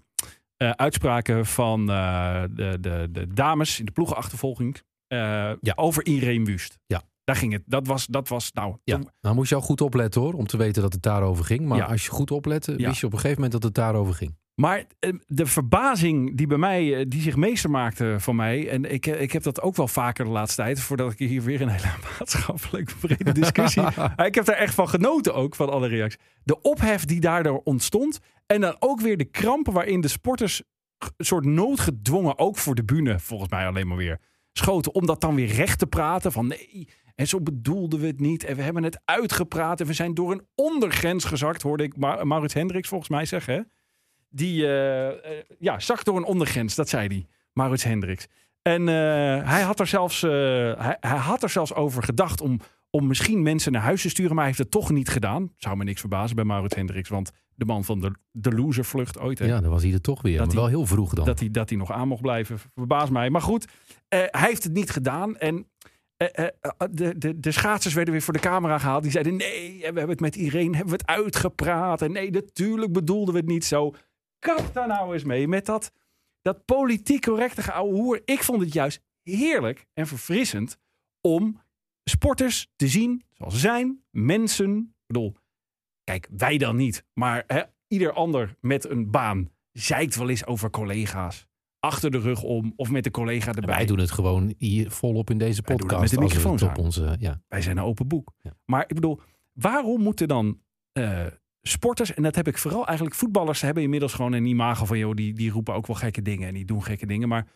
S3: eh, uitspraken van eh, de, de, de dames in de ploegenachtervolging. eh, Over Irene Wust.
S4: Ja.
S3: Daar ging het. Dat was, dat was nou...
S4: Ja.
S3: toen-
S4: Nou moest je wel goed opletten hoor, om te weten dat het daarover ging. Maar
S3: Ja.
S4: als je goed oplette,
S3: Ja.
S4: wist je op een gegeven moment dat het daarover ging.
S3: Maar eh, de verbazing die bij mij, eh, die zich meester maakte van mij. En ik, eh, ik heb dat ook wel vaker de laatste tijd. Voordat ik hier weer een hele [laughs] maatschappelijk brede discussie. Maar ik heb daar echt van genoten ook, van alle reacties. De ophef die daardoor ontstond. En dan ook weer de krampen waarin de sporters. g- een soort noodgedwongen, ook voor de bühne, volgens mij alleen maar weer. schoten. Om dat dan weer recht te praten. Van nee, en zo bedoelden we het niet. En we hebben het uitgepraat. En we zijn door een ondergrens gezakt, hoorde ik Ma- Maurits Hendricks volgens mij zeggen. hè? Die eh, eh, ja, zakt door een ondergrens, dat zei hij, Maurits Hendricks. En eh, hij, had er zelfs, eh, hij, hij had er zelfs over gedacht om, om misschien mensen naar huis te sturen, maar hij heeft het toch niet gedaan. Zou me niks verbazen bij Maurits Hendricks, want de man van de, de loservlucht ooit. hè?
S4: Ja, dan was hij er toch weer.
S3: Dat
S4: maar wel heel vroeg dan.
S3: dat hij, dat hij nog aan mocht blijven. Verbaas mij. Maar goed, eh, hij heeft het niet gedaan. En eh, eh, eh, de, de, de schaatsers werden weer voor de camera gehaald. Die zeiden: nee, we hebben het met Irene hebben we het uitgepraat. En nee, natuurlijk bedoelden we het niet zo. Kap daar nou eens mee met dat, dat politiek correcte geouwe hoer. Ik vond het juist heerlijk en verfrissend om sporters te zien zoals ze zijn. Mensen, ik bedoel, kijk, wij dan niet. Maar hè, ieder ander met een baan zeikt wel eens over collega's. Achter de rug om of met de collega erbij.
S4: Wij doen het gewoon hier volop in deze
S3: Wij doen het
S4: podcast.
S3: met de
S4: als we
S3: microfoons
S4: het op onze, ja.
S3: Wij zijn een open boek.
S4: Ja.
S3: Maar ik bedoel, waarom moeten dan eh, sporters, en dat heb ik vooral eigenlijk, voetballers hebben inmiddels gewoon een imago van, joh, die, die roepen ook wel gekke dingen en die doen gekke dingen. Maar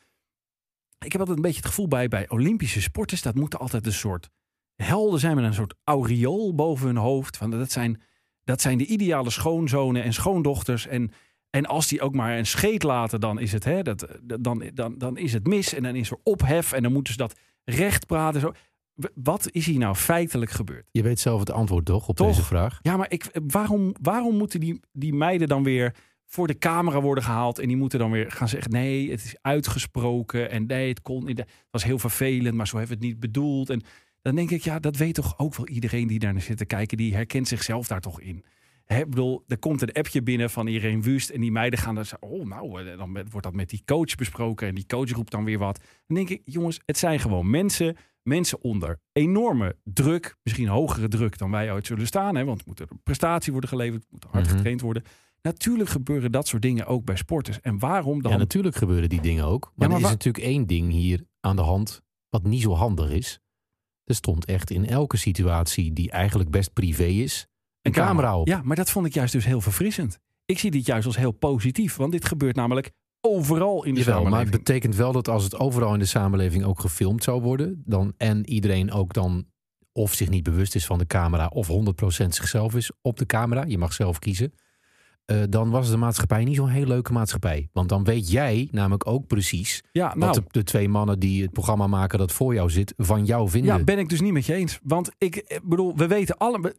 S3: ik heb altijd een beetje het gevoel bij, bij Olympische sporters, dat moeten altijd een soort helden zijn met een soort aureool boven hun hoofd. Van, dat, zijn, dat zijn de ideale schoonzonen en schoondochters. En, en als die ook maar een scheet laten, dan is het, hè, dat, dat- dan, dan, dan is het mis en dan is er ophef en dan moeten ze dat recht praten. Zo. W- Wat is hier nou feitelijk gebeurd?
S4: Je weet zelf het antwoord toch op
S3: Toch?
S4: deze vraag?
S3: Ja, maar ik, eh, waarom, waarom moeten die, die meiden dan weer voor de camera worden gehaald? En die moeten dan weer gaan zeggen: nee, het is uitgesproken. En nee, het kon niet. Het was heel vervelend, maar zo hebben we het niet bedoeld. En dan denk ik: ja, dat weet toch ook wel iedereen die daar naar zit te kijken. Die herkent zichzelf daar toch in. Hè, ik bedoel, er komt een appje binnen van Irene Wust. En die meiden gaan dan zeggen: Oh, nou, eh, dan met- wordt dat met die coach besproken. En die coach roept dan weer wat. Dan denk ik: Jongens, het zijn gewoon mensen. Mensen onder enorme druk. Misschien hogere druk dan wij ooit zullen staan. Hè, want er moet een prestatie worden geleverd. Moet hard
S4: Mhm.
S3: getraind worden. Natuurlijk gebeuren dat soort dingen ook bij sporters. En waarom dan?
S4: Ja, natuurlijk gebeuren die dingen ook. Maar,
S3: maar
S4: er is
S3: wa-
S4: natuurlijk één ding hier aan de hand wat niet zo handig is. Er stond echt in elke situatie die eigenlijk best privé is, een camera op.
S3: Ja, maar dat vond ik juist dus heel verfrissend. Ik zie dit juist als heel positief, want dit gebeurt namelijk overal in de
S4: Jawel, maar het
S3: samenleving.
S4: betekent wel dat als het overal in de samenleving ook gefilmd zou worden, dan en iedereen ook dan of zich niet bewust is van de camera, of 100% zichzelf is op de camera, je mag zelf kiezen, eh, dan was de maatschappij niet zo'n heel leuke maatschappij. Want dan weet jij namelijk ook precies
S3: ja, nou,
S4: wat de, de twee mannen die het programma maken dat voor jou zit, van jou vinden.
S3: Ja, ben ik dus niet met je eens. Want ik eh, bedoel, we weten allemaal.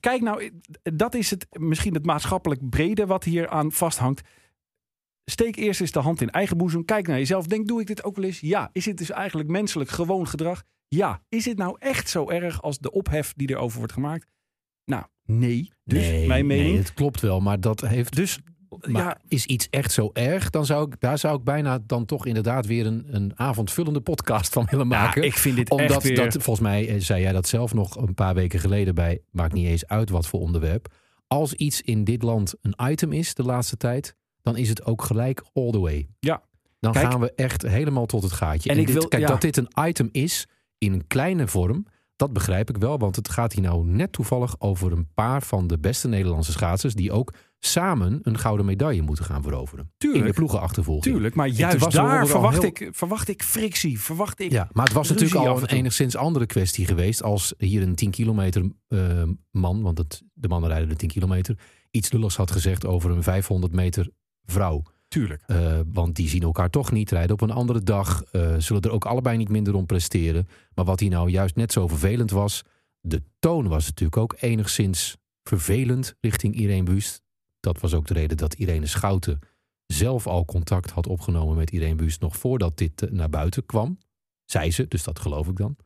S3: Kijk nou, eh, dat is het, misschien het maatschappelijk brede wat hier aan vasthangt. Steek eerst eens de hand in eigen boezem. Kijk naar jezelf. Denk, doe ik dit ook wel eens? Ja. Is dit dus eigenlijk menselijk gewoon gedrag? Ja. Is dit nou echt zo erg als de ophef die erover wordt gemaakt? Nou, nee. Dus
S4: nee,
S3: mijn mening.
S4: nee, het klopt wel, maar dat heeft
S3: Dus
S4: Maar
S3: ja,
S4: is iets echt zo erg, dan zou ik, daar zou ik bijna dan toch inderdaad weer een, een avondvullende podcast van willen maken.
S3: ik vind dit
S4: Omdat
S3: echt weer-
S4: dat, volgens mij eh, zei jij dat zelf nog een paar weken geleden bij, maakt niet eens uit wat voor onderwerp. Als iets in dit land een item is de laatste tijd, dan is het ook gelijk all the way.
S3: Ja.
S4: Dan
S3: Kijk-
S4: gaan we echt helemaal tot het gaatje.
S3: En ik
S4: dit-
S3: wil-
S4: kijk,
S3: ja.
S4: dat dit een item is in een kleine vorm, dat begrijp ik wel. Want het gaat hier nou net toevallig over een paar van de beste Nederlandse schaatsers... die ook samen een gouden medaille moeten gaan veroveren. In
S3: Tuurlijk.
S4: de ploegenachtervolging.
S3: tuurlijk. Maar
S4: Het
S3: juist
S4: was er
S3: daar
S4: overal
S3: verwacht, ik,
S4: heel-
S3: verwacht ik frictie. Verwacht ik.
S4: Ja, maar het was
S3: Ruzie af
S4: natuurlijk al
S3: en
S4: een
S3: toe.
S4: enigszins andere kwestie geweest... als hier een 10 kilometer eh, man, want het, de mannen rijden de 10 kilometer... iets lulligs had gezegd over een 500 meter vrouw.
S3: Tuurlijk.
S4: Eh, want die zien elkaar toch niet, rijden op een andere dag, eh, zullen er ook allebei niet minder om presteren. Maar wat hier nou juist net zo vervelend was, de toon was natuurlijk ook enigszins vervelend richting Irene Buust. Dat was ook de reden dat Irene Schouten zelf al contact had opgenomen met Irene Buust nog voordat dit eh, naar buiten kwam. Zei ze, dus dat geloof ik dan.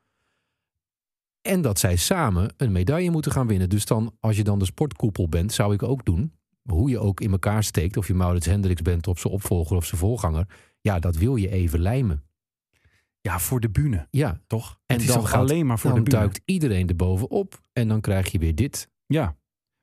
S4: En dat zij samen een medaille moeten gaan winnen. Dus dan, als je dan de sportkoepel bent, zou ik ook doen hoe je ook in elkaar steekt, of je Maurits Hendricks bent of zijn opvolger of zijn voorganger, ja, dat wil je even lijmen.
S3: Ja, voor de bühne.
S4: Ja,
S3: Toch?
S4: En
S3: het is Nou,
S4: dan
S3: toch
S4: gaat-
S3: alleen maar voor
S4: dan
S3: de bühne.
S4: duikt iedereen erbovenop en dan krijg je weer dit.
S3: Ja,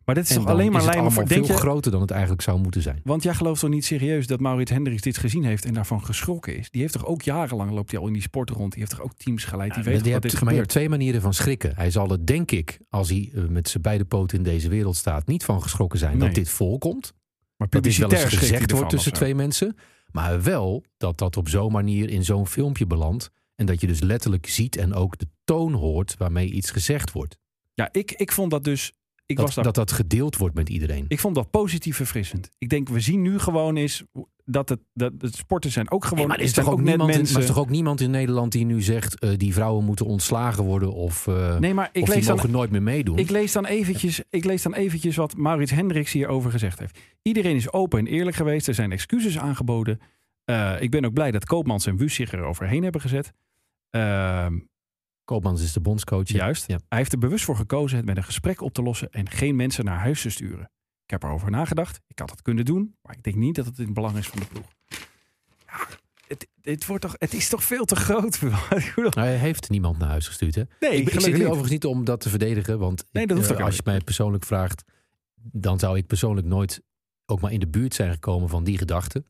S3: maar dat is
S4: en
S3: toch
S4: dan
S3: alleen maar
S4: is het
S3: lijmen
S4: allemaal
S3: voor... Denk
S4: veel
S3: je,
S4: groter dan het eigenlijk zou moeten zijn.
S3: want jij gelooft toch niet serieus dat Maurits Hendricks dit gezien heeft en daarvan geschrokken is? Die heeft toch ook jarenlang loopt hij al in die sport rond. Die heeft toch ook teams geleid. Die weet
S4: je
S3: toch wat
S4: hebt,
S3: dit
S4: maar je hebt
S3: gebeurt.
S4: twee manieren van schrikken. Hij zal er, denk ik, als hij eh, met zijn beide poten in deze wereld staat, niet van geschrokken zijn
S3: Nee.
S4: dat dit voorkomt.
S3: Maar
S4: Dat dit wel
S3: publicitair
S4: eens
S3: schrikt hij
S4: gezegd
S3: ervan
S4: wordt tussen
S3: of zo.
S4: twee mensen. Maar wel dat dat op zo'n manier in zo'n filmpje belandt. En dat je dus letterlijk ziet en ook de toon hoort waarmee iets gezegd wordt.
S3: Ja, ik, ik vond dat dus... Ik,
S4: dat,
S3: was daar,
S4: dat dat gedeeld wordt met iedereen.
S3: ik vond dat positief verfrissend. Ik denk, we zien nu gewoon eens dat het, dat het sporten zijn ook gewoon...
S4: Nee, maar er is,
S3: zijn
S4: toch ook niemand in,
S3: net
S4: maar
S3: mensen...
S4: er is toch ook niemand in Nederland die nu zegt... eh, die vrouwen moeten ontslagen worden of, eh,
S3: nee, maar ik
S4: of die
S3: lees dan
S4: mogen nooit meer meedoen.
S3: Ik lees, dan eventjes, ik lees dan eventjes wat Maurits Hendricks hierover gezegd heeft. Iedereen is open en eerlijk geweest. Er zijn excuses aangeboden. Eh, ik ben ook blij dat Koopmans en Wus zich eroverheen hebben gezet. Ehm,
S4: Koopmans is de bondscoach.
S3: Juist.
S4: Ja.
S3: Hij heeft er bewust voor gekozen het met een gesprek op te lossen en geen mensen naar huis te sturen. Ik heb erover nagedacht. Ik had het kunnen doen, maar ik denk niet dat het in het belang is van de ploeg. Ja, het, het, wordt toch, het is toch veel te groot. [laughs] Ik bedoel,
S4: Nou, hij heeft niemand naar huis gestuurd, hè?
S3: Nee,
S4: ik, ik
S3: gelukkig
S4: zit hier
S3: niet.
S4: overigens niet om dat te verdedigen. Want
S3: Nee,
S4: ik,
S3: dat hoeft
S4: eh,
S3: ook
S4: als je het
S3: helemaal
S4: mij persoonlijk vraagt... dan zou ik persoonlijk nooit ook maar in de buurt zijn gekomen van die gedachte.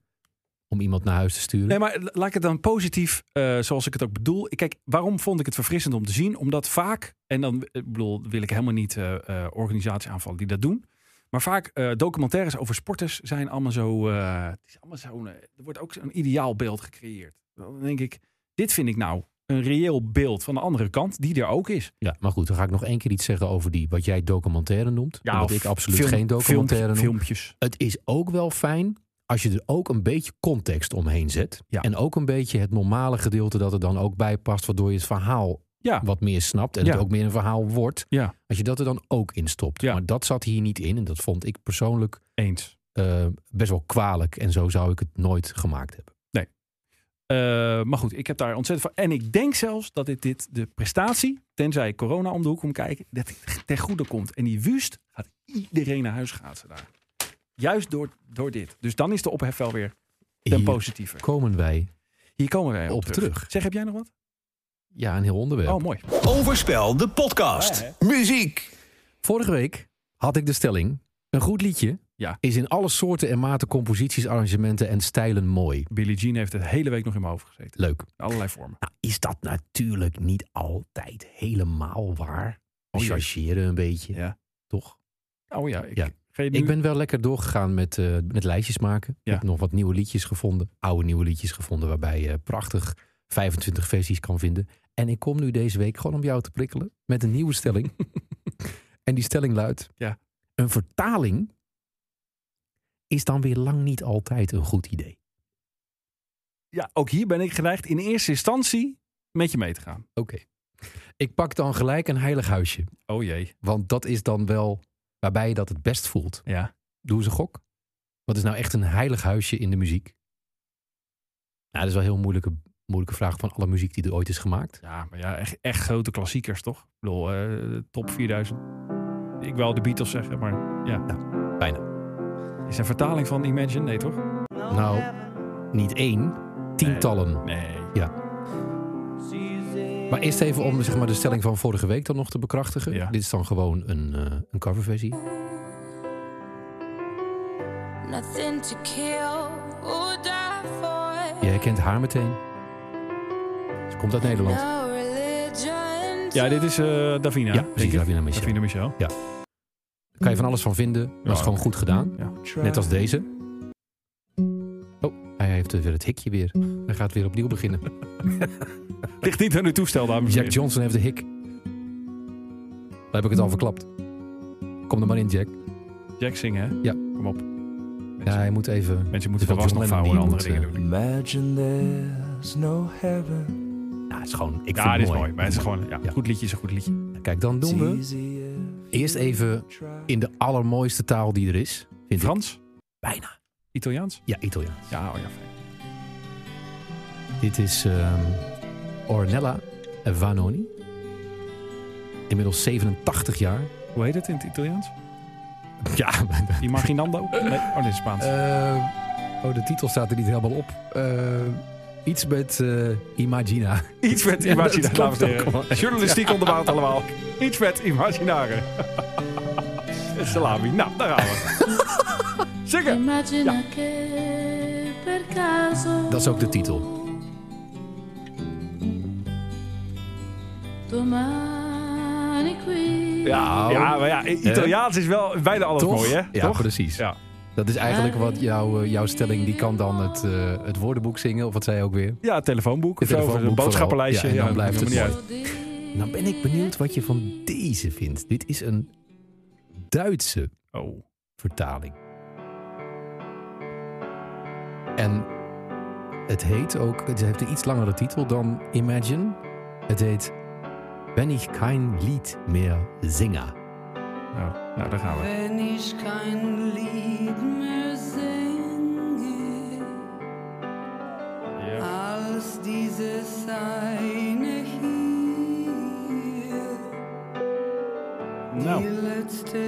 S4: Om iemand naar huis te sturen.
S3: Nee, maar la- laat ik het dan positief, eh, zoals ik het ook bedoel. Kijk, waarom vond ik het verfrissend om te zien? Omdat vaak, en dan eh, ik bedoel, wil ik helemaal niet eh, eh, organisaties aanvallen die dat doen. Maar vaak eh, documentaires over sporters zijn allemaal zo. eh, het is allemaal zo'n, eh, er wordt ook zo'n ideaal beeld gecreëerd. Dan denk ik, dit vind ik nou een reëel beeld van de andere kant, die er ook is.
S4: Ja, maar goed, dan ga ik nog één keer iets zeggen over die... wat jij documentaire noemt. omdat
S3: of
S4: ik absoluut
S3: film-
S4: geen documentaire
S3: filmpje-
S4: noem.
S3: Filmpjes.
S4: Het is ook wel fijn als je er ook een beetje context omheen zet.
S3: Ja.
S4: En ook een beetje het normale gedeelte dat er dan ook bij past. Waardoor je het verhaal
S3: Ja.
S4: wat meer snapt. En
S3: Ja.
S4: het ook meer een verhaal wordt.
S3: Ja,
S4: Als je dat er dan ook in stopt.
S3: Ja.
S4: Maar dat zat hier niet in. En dat vond ik persoonlijk
S3: eens.
S4: eh, best wel kwalijk. En zo zou ik het nooit gemaakt hebben.
S3: Eh, maar goed, ik heb daar ontzettend van. En ik denk zelfs dat dit, dit de prestatie, tenzij corona om de hoek komt kijken, dat dit ten goede komt. En die wust gaat iedereen naar huis gaan ze daar. Juist door, door dit. Dus dan is de ophef wel weer ten
S4: Hier
S3: positieve.
S4: komen wij
S3: Hier komen wij op,
S4: op
S3: terug.
S4: terug.
S3: Zeg, heb jij nog wat?
S4: Ja, een heel onderwerp.
S3: Oh, mooi.
S1: Overspel, de podcast.
S2: Muziek.
S4: Vorige week had ik de stelling: een goed liedje
S3: Ja.
S4: Is in alle soorten en maten, composities, arrangementen en stijlen mooi.
S3: Billie Jean heeft de hele week nog in mijn hoofd gezeten.
S4: Leuk.
S3: In allerlei vormen.
S4: Nou, is dat natuurlijk niet altijd helemaal waar. We
S3: Oh jee.
S4: chargeren een beetje,
S3: Ja.
S4: toch?
S3: Oh ja, ik,
S4: Nou, Ja.
S3: Ga je nu...
S4: Ik ben wel lekker doorgegaan met, eh, met lijstjes maken.
S3: Ja.
S4: Ik heb nog wat nieuwe liedjes gevonden. Oude nieuwe liedjes gevonden waarbij je prachtig 25 versies kan vinden. En ik kom nu deze week gewoon om jou te prikkelen met een nieuwe
S3: [laughs]
S4: stelling. en die stelling luidt...
S3: Ja.
S4: Een vertaling is dan weer lang niet altijd een goed idee.
S3: Ja, ook hier ben ik geneigd in eerste instantie met je mee te gaan.
S4: Oké. Ik pak dan gelijk een heilig huisje.
S3: Oh jee.
S4: Want dat is dan wel waarbij je dat het best voelt.
S3: Ja.
S4: Doe eens een gok. Wat is nou echt een heilig huisje in de muziek? Nou, dat is wel een heel moeilijke, moeilijke vraag van alle muziek die er ooit is gemaakt.
S3: Ja, maar ja, echt, echt grote klassiekers toch? Ik bedoel, eh, top 4000. Ik wil de Beatles zeggen, maar ja.
S4: Bijna.
S3: Is een vertaling van Imagine? Nee, toch?
S4: Nou, niet één, tientallen.
S3: Nee.
S4: Maar eerst even om zeg maar, de stelling van vorige week dan nog te bekrachtigen.
S3: Ja.
S4: Dit is dan gewoon een, eh, een coverversie.
S6: Nothing to kill or die for.
S4: Je herkent haar meteen. Ze komt uit Nederland.
S6: No religion.
S3: Ja, dit is eh, Davina.
S4: Ja,
S3: denk
S4: precies,
S3: ik.
S4: Davina Michel.
S3: Davina Michel.
S4: Daar kan je van alles van vinden. Dat is
S3: Ja.
S4: gewoon goed gedaan.
S3: Ja.
S4: Net als deze. Oh, hij heeft weer het hikje weer. Hij gaat weer opnieuw
S3: [laughs]
S4: beginnen.
S3: Ligt niet aan uw toestel, dames en
S4: Jack
S3: heren.
S4: Johnson heeft de hik. Daar heb ik het al verklapt. Kom er maar in, Jack.
S3: Jack zingen, hè?
S4: Ja.
S3: Kom op.
S4: Ja, hij moet even...
S3: Mensen moeten de
S4: Dus
S3: was
S4: John
S3: nog
S4: Lennon
S3: vouwen en
S4: die
S3: andere dingen
S4: moet,
S3: doen.
S7: Imagine there's no heaven.
S4: Nou, het is gewoon... Ik
S3: Ja,
S4: vind
S3: dit
S4: het
S3: is mooi. Maar het is gewoon, ja,
S4: Ja.
S3: goed liedje is een goed liedje.
S4: Kijk, dan doen we
S7: Easy if
S4: eerst even
S7: try.
S4: in de allermooiste taal die er is. Vind ik.
S3: Frans?
S4: Bijna.
S3: Italiaans?
S4: Ja, Italiaans.
S3: Ja, oh ja, fijn.
S4: Dit is ehm, Ornella Vanoni. Inmiddels 87 jaar.
S3: Hoe heet het in het Italiaans?
S4: Ja, [laughs]
S3: Imaginando? Nee, oh, dit is Spaans.
S4: Eh, oh, de titel staat er niet helemaal op. Eh, iets met eh, Imagina. [laughs]
S3: Iets met
S4: Ja, dat
S3: imaginare, dames en
S4: klopt ook
S3: heren.
S4: wel.
S3: Journalistiek onderbouwd allemaal. Iets met
S4: [laughs]
S3: imaginare. Salami. Nou, daar gaan we. [laughs] Zingen.
S6: Immagina che per caso.
S4: Dat is ook de titel.
S6: Domani qui.
S3: Ja,
S4: Nou.
S3: ja, maar ja, Italiaans is wel bijna alles
S4: Toch?
S3: mooi, hè?
S4: Ja, precies.
S3: Ja.
S4: Dat is eigenlijk wat jouw, eh, jouw stelling, die kan dan het, eh, het woordenboek zingen, of wat zei je ook weer?
S3: ja, het telefoonboek of
S4: Het
S3: zo, of een
S4: telefoonboek
S3: boodschappenlijstje.
S4: vooral. Ja, en dan
S3: dat
S4: blijft
S3: maakt
S4: het
S3: niet
S4: Nou ben ik benieuwd wat je van deze vindt. Dit is een Duitse
S3: uit. Oh.
S4: vertaling. En het heet ook, het heeft een iets langere titel dan Imagine. Het heet Ben ich kein Lied meer singa.
S3: Nou, nou, daar gaan we.
S8: Wenn ich kein Lied mehr singe,
S3: Ja.
S8: als dieses eine hier, die
S4: Eh,
S3: Nou,
S8: letzte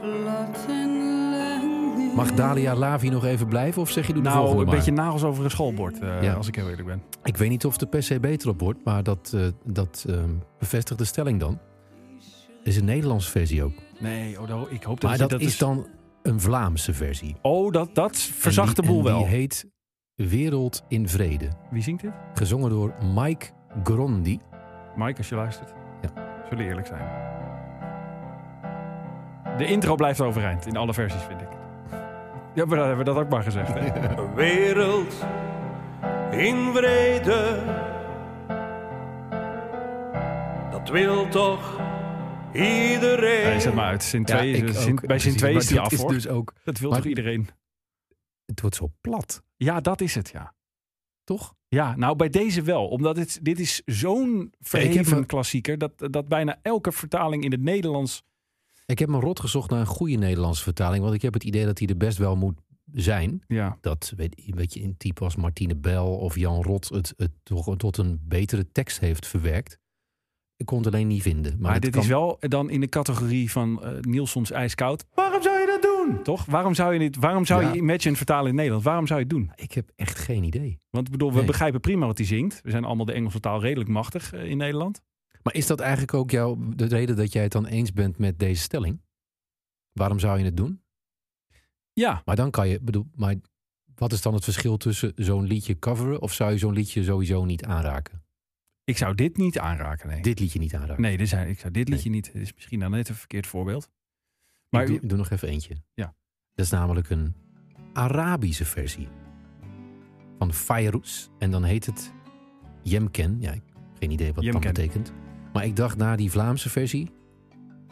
S8: Plattenlänge.
S4: Mag Dalia Lavi nog even blijven of zeg je doe de
S3: nou
S4: volgende
S3: een
S4: maar?
S3: beetje nagels over een schoolbord, eh,
S4: Ja.
S3: als ik heel eerlijk ben.
S4: Ik weet niet of de per se beter op wordt, maar dat, eh, dat eh, bevestigt de stelling dan. Er is een Nederlandse versie ook.
S3: Nee, oh, nou, ik hoop dat
S4: Maar
S3: je
S4: dat, is dan een Vlaamse versie.
S3: Oh, dat, dat verzacht de
S4: En die-
S3: boel
S4: en
S3: wel.
S4: Die heet Wereld in Vrede.
S3: Wie zingt dit?
S4: Gezongen door Mike Grondi.
S3: Mike, als je luistert. Ja. Zullen eerlijk zijn. De intro blijft overeind in alle versies, vind ik. Ja, maar dan hebben we dat ook maar gezegd. Hè?
S7: Een wereld in vrede. Dat wil toch iedereen.
S3: Nee, zet maar uit. Sint 2 is,
S4: ik ook,
S3: Sint- bij Sint
S4: precies.
S3: 2
S4: Maar
S3: is die
S4: dat
S3: af, hoor.
S4: dus ook,
S3: Dat wil
S4: maar-
S3: toch iedereen?
S4: het wordt zo plat,
S3: Ja, dat is het, ja.
S4: toch?
S3: Ja, nou bij deze wel. Omdat het, dit is zo'n
S4: ik heb
S3: verheven
S4: een-
S3: klassieker... Dat, dat bijna elke vertaling in het Nederlands...
S4: Ik heb me rot gezocht naar een goede Nederlandse vertaling. Want ik heb het idee dat die er best wel moet zijn.
S3: Ja,
S4: dat weet, weet je, in type als Martine Bel of Jan Rot het, het toch tot een betere tekst heeft verwerkt. Ik kon het alleen niet vinden. Maar,
S3: maar
S4: het
S3: dit
S4: kan-
S3: is wel dan in de categorie van eh, Nielsons IJskoud. Waarom zou je dat doen? Toch? Waarom zou je, dit, waarom zou
S4: Ja.
S3: je Imagine vertalen in Nederland? Waarom zou je het doen?
S4: Ik heb echt geen idee.
S3: Want ik bedoel, we
S4: Nee.
S3: begrijpen prima wat hij zingt. We zijn allemaal de Engelse taal redelijk machtig eh, in Nederland.
S4: Maar is dat eigenlijk ook jouw, de reden dat jij het dan eens bent met deze stelling? Waarom zou je het doen?
S3: Ja,
S4: Maar dan kan je, bedoel, maar wat is dan het verschil tussen zo'n liedje coveren of zou je zo'n liedje sowieso niet aanraken?
S3: ik zou dit niet aanraken. Nee,
S4: Dit liedje niet aanraken.
S3: nee dit zijn, ik zou dit liedje niet. Dit is misschien dan net een verkeerd voorbeeld. Maar
S4: ik doe, ik doe nog even eentje.
S3: Ja.
S4: Dat is namelijk een Arabische versie van Fairuz. En dan heet het Yemken. Ja, ik heb geen idee wat
S3: Yemken.
S4: dat betekent. Maar ik dacht, na die Vlaamse versie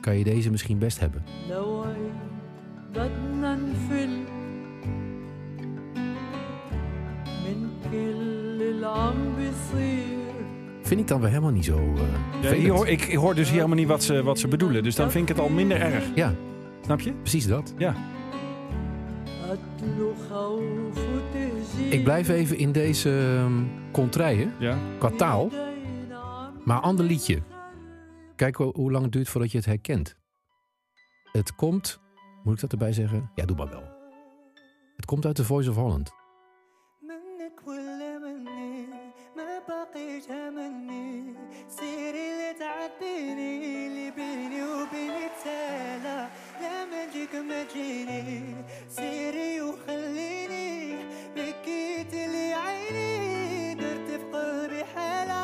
S4: kan je deze misschien best hebben.
S8: لوعي بدنا نفل من كل اللي عم بيصير
S4: Vind ik dan weer helemaal niet zo eh
S3: Ja,
S4: vervelend.
S3: hier hoor- ik ik hoor dus hier helemaal niet wat ze, wat ze bedoelen. Dus dan vind ik het al minder erg.
S4: Ja,
S3: Snap je?
S4: precies dat.
S8: قتل وخوف وتهجير
S4: Ik blijf even in deze ehm contraien
S3: Ja.
S4: qua taal.
S8: ايدينا عم
S4: Maar ander liedje. Kijk ho- hoe lang het duurt voordat je het herkent. Het komt, moet ik dat erbij zeggen? Ja, doe maar wel. Het komt uit The Voice of Holland.
S9: منك ولا مني ما بقيت همني سيري اللي تعبيني اللي بيني وبين التالا لا ما تجيك ما تجيني سيري وخليني بكيت لي عيني درت في قلبي حالة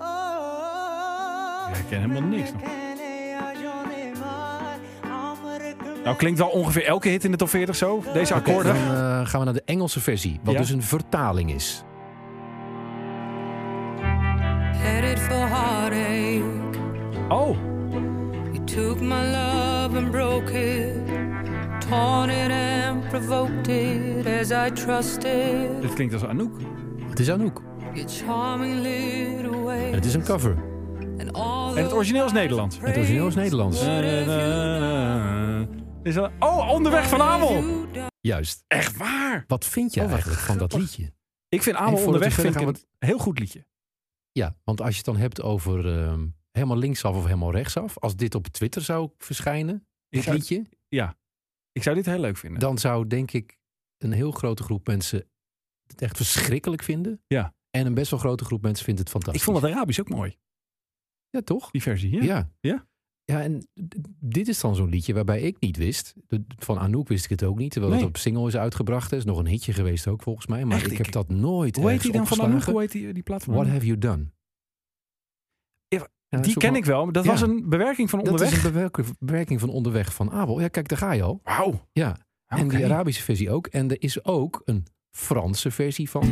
S9: أوه.
S3: Ik herken helemaal niks.
S9: منك أنا يا جوني مار عمرك ما
S3: Nou klinkt wel ongeveer elke hit in de top 40 zo. Deze
S4: Oké,
S3: akkoorden.
S4: dan eh, gaan we naar de Engelse versie, wat
S3: Ja.
S4: dus een vertaling is.
S8: Headed for heartache
S3: Oh,
S8: You took my love and broke it Torn it and provoked it As I trusted
S3: dit klinkt als Anouk.
S4: Het is Anouk.
S8: Your charming little
S4: En het
S8: ways
S4: is een cover.
S8: And all
S3: En het origineel is Nederlands.
S4: Het origineel is Nederlands.
S3: Is dat- Oh, onderweg van Amel.
S4: Juist.
S3: Echt waar?
S4: Wat vind je
S3: Oh, wat
S4: eigenlijk van dat
S3: grappig.
S4: liedje?
S3: Ik vind
S4: En
S3: Amel
S4: voordat
S3: onderweg
S4: we
S3: vind
S4: verder
S3: ik een heel goed liedje.
S4: Ja, want als je het dan hebt over ehm, helemaal linksaf of helemaal rechtsaf. Als dit op Twitter zou verschijnen, dit
S3: zou-
S4: liedje.
S3: Ik zou dit heel leuk vinden.
S4: dan zou denk ik een heel grote groep mensen het echt verschrikkelijk vinden.
S3: Ja.
S4: En een best wel grote groep mensen vindt het fantastisch.
S3: ik vond het Arabisch ook mooi,
S4: Ja, toch?
S3: die versie. Ja.
S4: Ja.
S3: Ja.
S4: Ja, en d- dit is dan zo'n liedje waarbij ik niet wist. De- Van Anouk wist ik het ook niet, terwijl
S3: Nee.
S4: het op single is uitgebracht. Er is nog een hitje geweest ook volgens mij, maar
S3: Echt,
S4: ik
S3: ik-
S4: heb dat nooit
S3: Hoe heet
S4: ergens
S3: die dan van Anouk?
S4: opgeslagen.
S3: Hoe heet die, die plaat van
S4: What
S3: Anouk?
S4: Have You Done?
S3: Ja,
S4: Ja,
S3: Die
S4: zoek
S3: ken
S4: maar-
S3: ik wel, maar dat
S4: Ja.
S3: was een bewerking van
S4: Dat
S3: onderweg.
S4: is een bewerking- bewerking van Onderweg van Abel. Ja, kijk, daar ga je al.
S3: Wauw.
S4: Ja, En
S3: Oké.
S4: die Arabische versie ook. En er is ook een Franse versie van.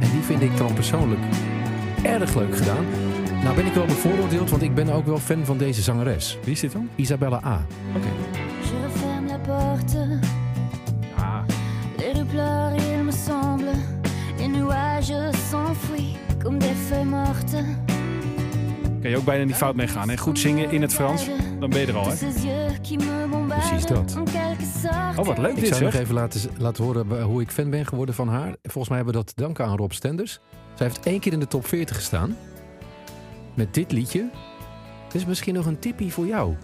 S4: En die vind ik dan persoonlijk erg leuk gedaan. Nou ben ik wel bevooroordeeld, want ik ben ook wel fan van deze zangeres.
S3: Wie is dit dan?
S4: Isabella A.
S6: Je referme la porte. Les rues pleurent, il me semble. Les nuages s'enfuient comme des feuilles mortes.
S3: Kan je ook bijna niet fout mee gaan. Hè? Goed zingen in het Frans, dan ben je er al.
S6: Tous
S3: Hè?
S6: ces yeux qui me bombardent.
S4: Precies dat.
S6: En quelque sorte.
S3: Oh, wat leuk
S4: Ik
S3: dit
S4: zou nog
S3: zeg.
S4: even laten, z- laten horen wa- hoe ik fan ben geworden van haar. Volgens mij hebben we dat te danken aan Rob Stenders. Zij heeft één keer in de top 40 gestaan. Met dit liedje. Dit is misschien nog een tippie voor jou.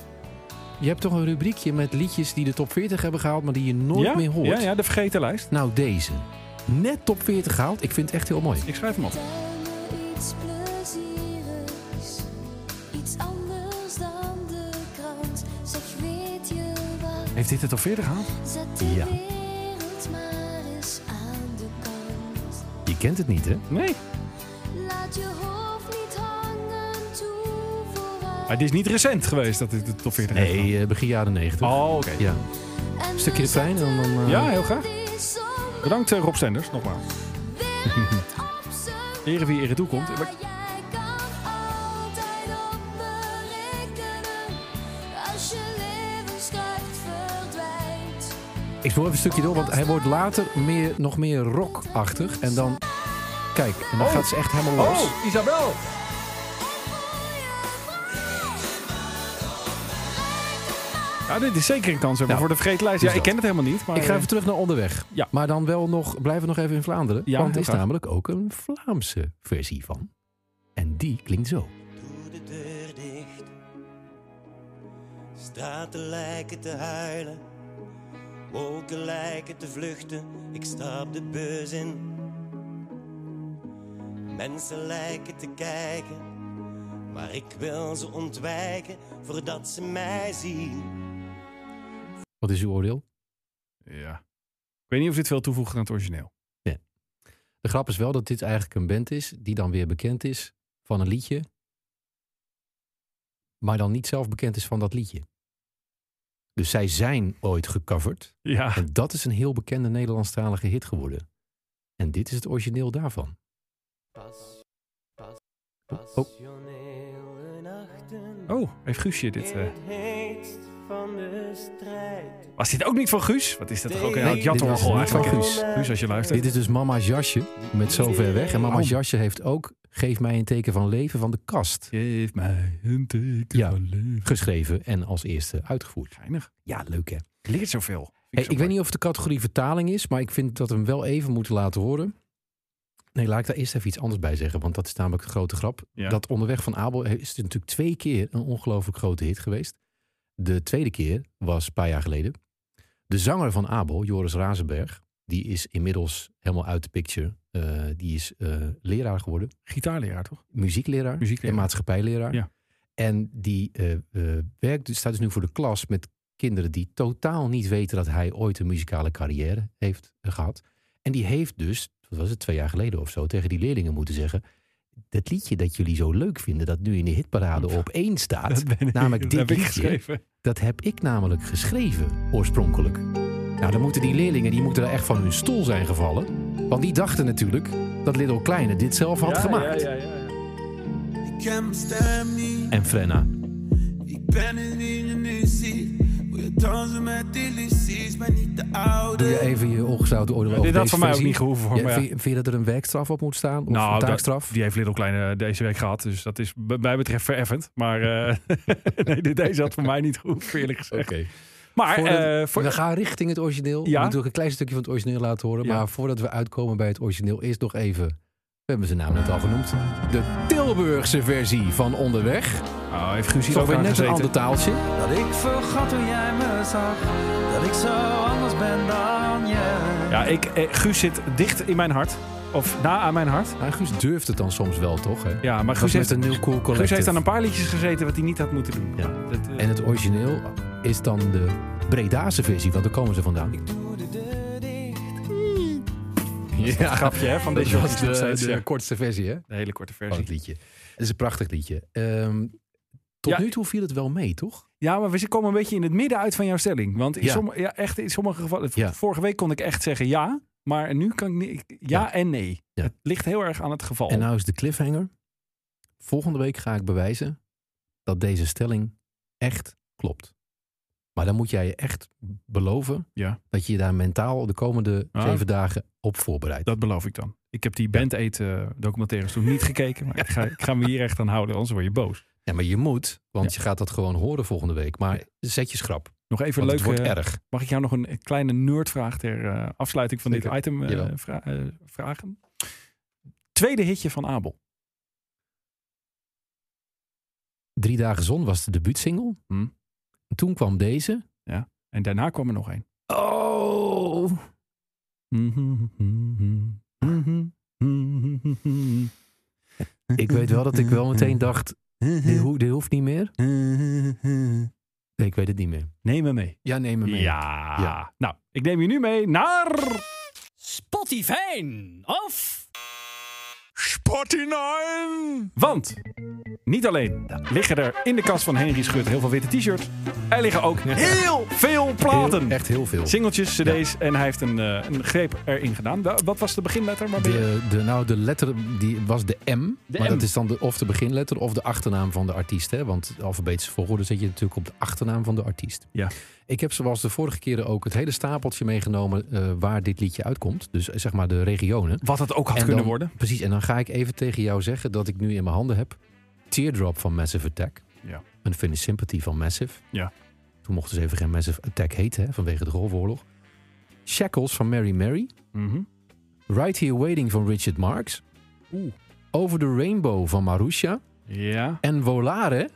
S4: Je hebt toch een rubriekje met liedjes die de top 40 hebben gehaald, maar die je nooit
S3: ja?
S4: meer hoort.
S3: Ja, ja, de vergeten lijst.
S4: Nou, deze. Net top 40 gehaald. Ik vind het echt heel mooi.
S3: Ik schrijf hem op.
S6: Vertel me iets plezierigs. Iets anders dan de krant. Zeg, weet je wat?
S3: Heeft dit het al verder gehaald?
S6: Zet de
S4: Ja.
S6: wereld maar eens aan de kant.
S4: Je kent het niet, hè?
S3: Nee.
S6: Laat je hoofd niet hangen, toe vooruit.
S3: Maar dit is niet recent geweest dat dit de top 40 heeft
S4: Nee, eh, begin jaren 90.
S3: gehaald. Oh, oké.
S4: Ja.
S6: En
S4: Stukje
S6: dan
S4: refrein en dan... eh,
S3: Ja, heel graag.
S6: die zomer
S3: Bedankt eh, Rob Senders, nogmaals.
S6: op z'n-
S3: Ere wie ere toekomt.
S6: Ja, jij kan altijd op me rekenen. Als je levenskracht verdwijnt.
S4: Ik spoel even een stukje door, want hij wordt later meer, nog meer rockachtig. En dan... Kijk, en dan
S3: Oh.
S4: gaat ze echt helemaal los.
S3: Oh, Isabel! Ja, dit is zeker een kans hebben
S4: Nou,
S3: voor de vergeetlijst. Ja,
S4: dus
S3: ik
S4: dat.
S3: ken het helemaal niet. Maar,
S4: Ik ga
S3: eh,
S4: even terug naar onderweg.
S3: Ja.
S4: Maar dan wel nog, blijven nog even in Vlaanderen.
S3: Ja,
S4: want er
S3: heel
S4: is
S3: graag.
S4: namelijk ook een Vlaamse versie van. En die klinkt zo.
S9: Doe de deur dicht. Straten lijken te huilen. Wolken lijken te vluchten. Ik stap de bus in. Mensen lijken te kijken. Maar ik wil ze ontwijken voordat ze mij zien.
S4: Wat is uw oordeel?
S3: Ja. weet niet of dit veel toevoegt aan het origineel.
S4: De grap is wel dat dit eigenlijk een band is die dan weer bekend is van een liedje. Maar dan niet zelf bekend is van dat liedje. Dus zij zijn ooit gecoverd.
S3: Ja,
S4: En dat is een heel bekende Nederlandstalige hit geworden. En dit is het origineel daarvan. Oh.
S9: Passionele nachten.
S3: oh, heeft Guusje dit... eh,
S9: het heetst van de strijd.
S3: was dit ook niet van Guus? Wat is dat toch ook een
S9: Nee,
S3: oud jatorgel
S4: dit is niet
S3: eigenlijk,
S4: van
S3: hè?
S4: Guus.
S3: Guus, als je luistert.
S4: Dit is dus Mama's jasje met Zo Ver Weg. En Mama's jasje heeft ook Geef mij een teken van leven van de kast
S3: Geef mij een teken
S4: Ja.
S3: van leven.
S4: geschreven en als eerste uitgevoerd.
S3: Geinig.
S4: Ja, leuk hè.
S3: Leert zoveel. Vind zo
S4: Hey, ik
S3: mooi.
S4: weet niet of het de categorie vertaling is, maar ik vind dat we hem wel even moeten laten horen. Nee, laat ik daar eerst even iets anders bij zeggen, want dat is namelijk de grote grap.
S3: Ja.
S4: Dat onderweg van Abel eh, is het natuurlijk twee keer een ongelooflijk grote hit geweest. De tweede keer was een paar jaar geleden. De zanger van Abel, Joris Razenberg, die is inmiddels helemaal uit de picture. Eh, die is eh, leraar geworden
S3: Gitaarleraar, toch?
S4: muziekleraar,
S3: Muziekleraar.
S4: en maatschappijleraar.
S3: Ja.
S4: En die eh, eh, werkt, dus- staat dus nu voor de klas met kinderen die totaal niet weten dat hij ooit een muzikale carrière heeft eh, gehad. En die heeft dus, wat was het, twee jaar geleden of zo, tegen die leerlingen moeten zeggen. Dat liedje dat jullie zo leuk vinden, dat nu in de
S3: [laughs]
S4: hitparade op één staat, namelijk
S3: Dat
S4: dit
S3: heb ik
S4: liedje,
S3: geschreven.
S4: dat heb ik namelijk geschreven oorspronkelijk. Nou, dan moeten die leerlingen die moeten er echt van hun stoel zijn gevallen. Want die dachten natuurlijk dat Little Kleine dit zelf had gemaakt.
S9: Ik ken mijn stem niet.
S4: En Frenna,
S9: Ik ben het wie je nu ziet. Wil je dansen met illusies, maar niet de oude.
S4: Doe je even je ongezouten oordeel over
S3: dit had
S4: deze
S3: voor mij ook
S4: versie.
S3: niet gehoeven. Hoor,
S4: Ja,
S3: maar ja.
S4: vind, je, vind je dat er een werkstraf op moet staan? Of
S3: Nou,
S4: een
S3: dat-
S4: taakstraf?
S3: Die heeft Little Kleine deze week gehad. Dus dat is bij mij betreft vereffend. Maar eh, [laughs] nee, dit- deze had voor mij niet gehoeven, eerlijk gezegd. Maar
S4: Voordat-
S3: eh, voor,
S4: We gaan richting het origineel.
S3: Ja.
S4: We moeten ook een klein stukje van het origineel laten horen.
S3: Ja.
S4: Maar voordat we uitkomen bij het origineel, eerst nog even... We hebben zijn naam net al genoemd. De Tilburgse versie van Onderweg.
S3: Oh, heeft Guus
S4: Is
S3: hier
S4: ook
S3: ook
S4: weer
S3: aan
S4: net een
S3: gezeten?
S4: ander taaltje.
S7: Dat ik vergat toen jij me zag. Dat ik zo anders ben dan jij.
S3: Ja, ik, eh, Guus zit dicht in mijn hart. Of na aan mijn hart.
S4: Maar Guus durft het dan soms wel, toch? Hè?
S3: Ja, maar
S4: Dat
S3: Guus
S4: met
S3: heeft,
S4: een New Cool
S3: Guus
S4: Collective.
S3: heeft aan een paar liedjes gezeten wat hij niet had moeten doen.
S4: Ja.
S3: Dat, eh,
S4: En het origineel is dan de Bredaanse versie, want daar komen ze vandaan. Ja,
S3: grapje hè, van deze
S4: dat
S3: jongens.
S4: was de,
S3: nog steeds,
S4: de
S3: ja.
S4: kortste versie, hè?
S3: De hele korte
S4: Van
S3: versie.
S4: het liedje. Het is een prachtig liedje. Ehm, tot
S3: Ja.
S4: nu toe viel het wel mee, toch?
S3: Ja, maar we komen een beetje in het midden uit van jouw stelling. Want in,
S4: Ja.
S3: sommige, ja, echt, in sommige gevallen...
S4: Ja.
S3: Vorige week kon ik echt zeggen ja. Maar nu kan ik niet... Ja,
S4: Ja.
S3: en nee.
S4: Ja.
S3: Het ligt heel erg aan het geval.
S4: En nou is de cliffhanger. Volgende week ga ik bewijzen dat deze stelling echt klopt. Maar dan moet jij je echt beloven
S3: Ja.
S4: dat je je daar mentaal de komende
S3: Ah.
S4: zeven dagen op voorbereidt.
S3: Dat beloof ik dan. Ik heb die band eten documentaires toen niet gekeken. Maar ik, ga, ik ga me hier echt aan houden, anders word je boos.
S4: Ja, maar je moet, want je gaat dat gewoon horen volgende week. Maar zet je schrap,
S3: Nog even
S4: want
S3: leuk.
S4: het wordt
S3: eh,
S4: erg.
S3: Mag ik jou nog een kleine nerdvraag ter eh, afsluiting van
S4: Zeker.
S3: dit item eh,
S4: Jawel.
S3: vra- eh, vragen? Tweede hitje van Abel.
S4: Drie dagen zon was de debuutsingle.
S3: Hm.
S4: En Toen kwam deze.
S3: En daarna kwam er nog één.
S4: Oh! Ik weet wel dat ik
S3: [laughs]
S4: wel meteen dacht, dit, ho- dit hoeft niet meer. Nee, ik weet het niet meer.
S3: [laughs] Neem me mee.
S4: Ja, neem hem mee.
S3: Ja.
S4: Ja.
S3: Nou, ik neem je nu mee naar...
S10: Spotify of
S3: Want niet alleen liggen er in de kast van Henry Schut heel veel witte t-shirts. Er liggen ook heel veel platen.
S4: Heel- echt heel veel.
S3: Singeltjes, cd's en hij heeft een, eh, een greep erin gedaan. Wa- Wat was de beginletter? Waar ben je-
S4: De, de, nou, de letter die was de M.
S3: De
S4: maar
S3: M.
S4: dat is dan de, of de beginletter of de achternaam van de artiest. Hè? Want de alfabetische volgorde zet je natuurlijk op de achternaam van de artiest.
S3: Ja.
S4: Ik heb zoals de vorige keren ook het hele stapeltje meegenomen eh, waar dit liedje uitkomt. Dus eh, zeg maar de regionen.
S3: Wat het ook had
S4: En
S3: kunnen
S4: dan-
S3: worden.
S4: Precies, en dan ga ik even tegen jou zeggen dat ik nu in mijn handen heb Teardrop van Massive Attack.
S3: Ja.
S4: Een Finish Sympathy van Massive.
S3: Ja.
S4: Toen mochten ze even geen Massive Attack heten hè, vanwege de Golfoorlog. Shackles van Mary Mary.
S3: Mhm.
S4: Right Here Waiting van Richard Marx.
S3: Oeh.
S4: Over the Rainbow van Marusha.
S3: Ja.
S4: En Volare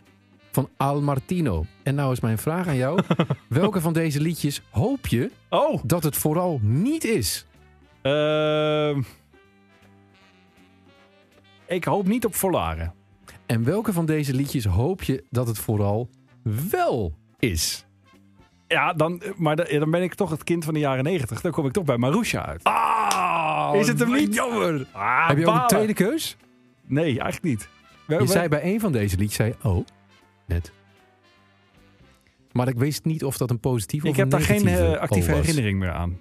S4: van Al Martino. En nou is mijn vraag aan
S3: [laughs]
S4: jou. welke van deze liedjes hoop je
S3: Oh,
S4: dat het vooral niet is?
S3: ehm, ik hoop niet op Volaren.
S4: En welke van deze liedjes hoop je dat het vooral wel is?
S3: Ja, dan, maar dan- ja, dan ben ik toch het kind van de jaren negentig. Dan kom ik toch bij Marusha uit.
S4: Ah,
S3: Is het hem niet?
S4: Jammer.
S3: Ah,
S4: Heb je ook een
S3: balen.
S4: tweede keus?
S3: Nee, eigenlijk niet. We-
S4: Je
S3: we-
S4: zei bij een van deze liedjes, zei, je, oh, net. Maar ik wist niet of dat een positieve
S3: ik
S4: of
S3: heb
S4: een
S3: daar geen
S4: negatieve
S3: eh, actieve
S4: oh was.
S3: herinnering meer aan.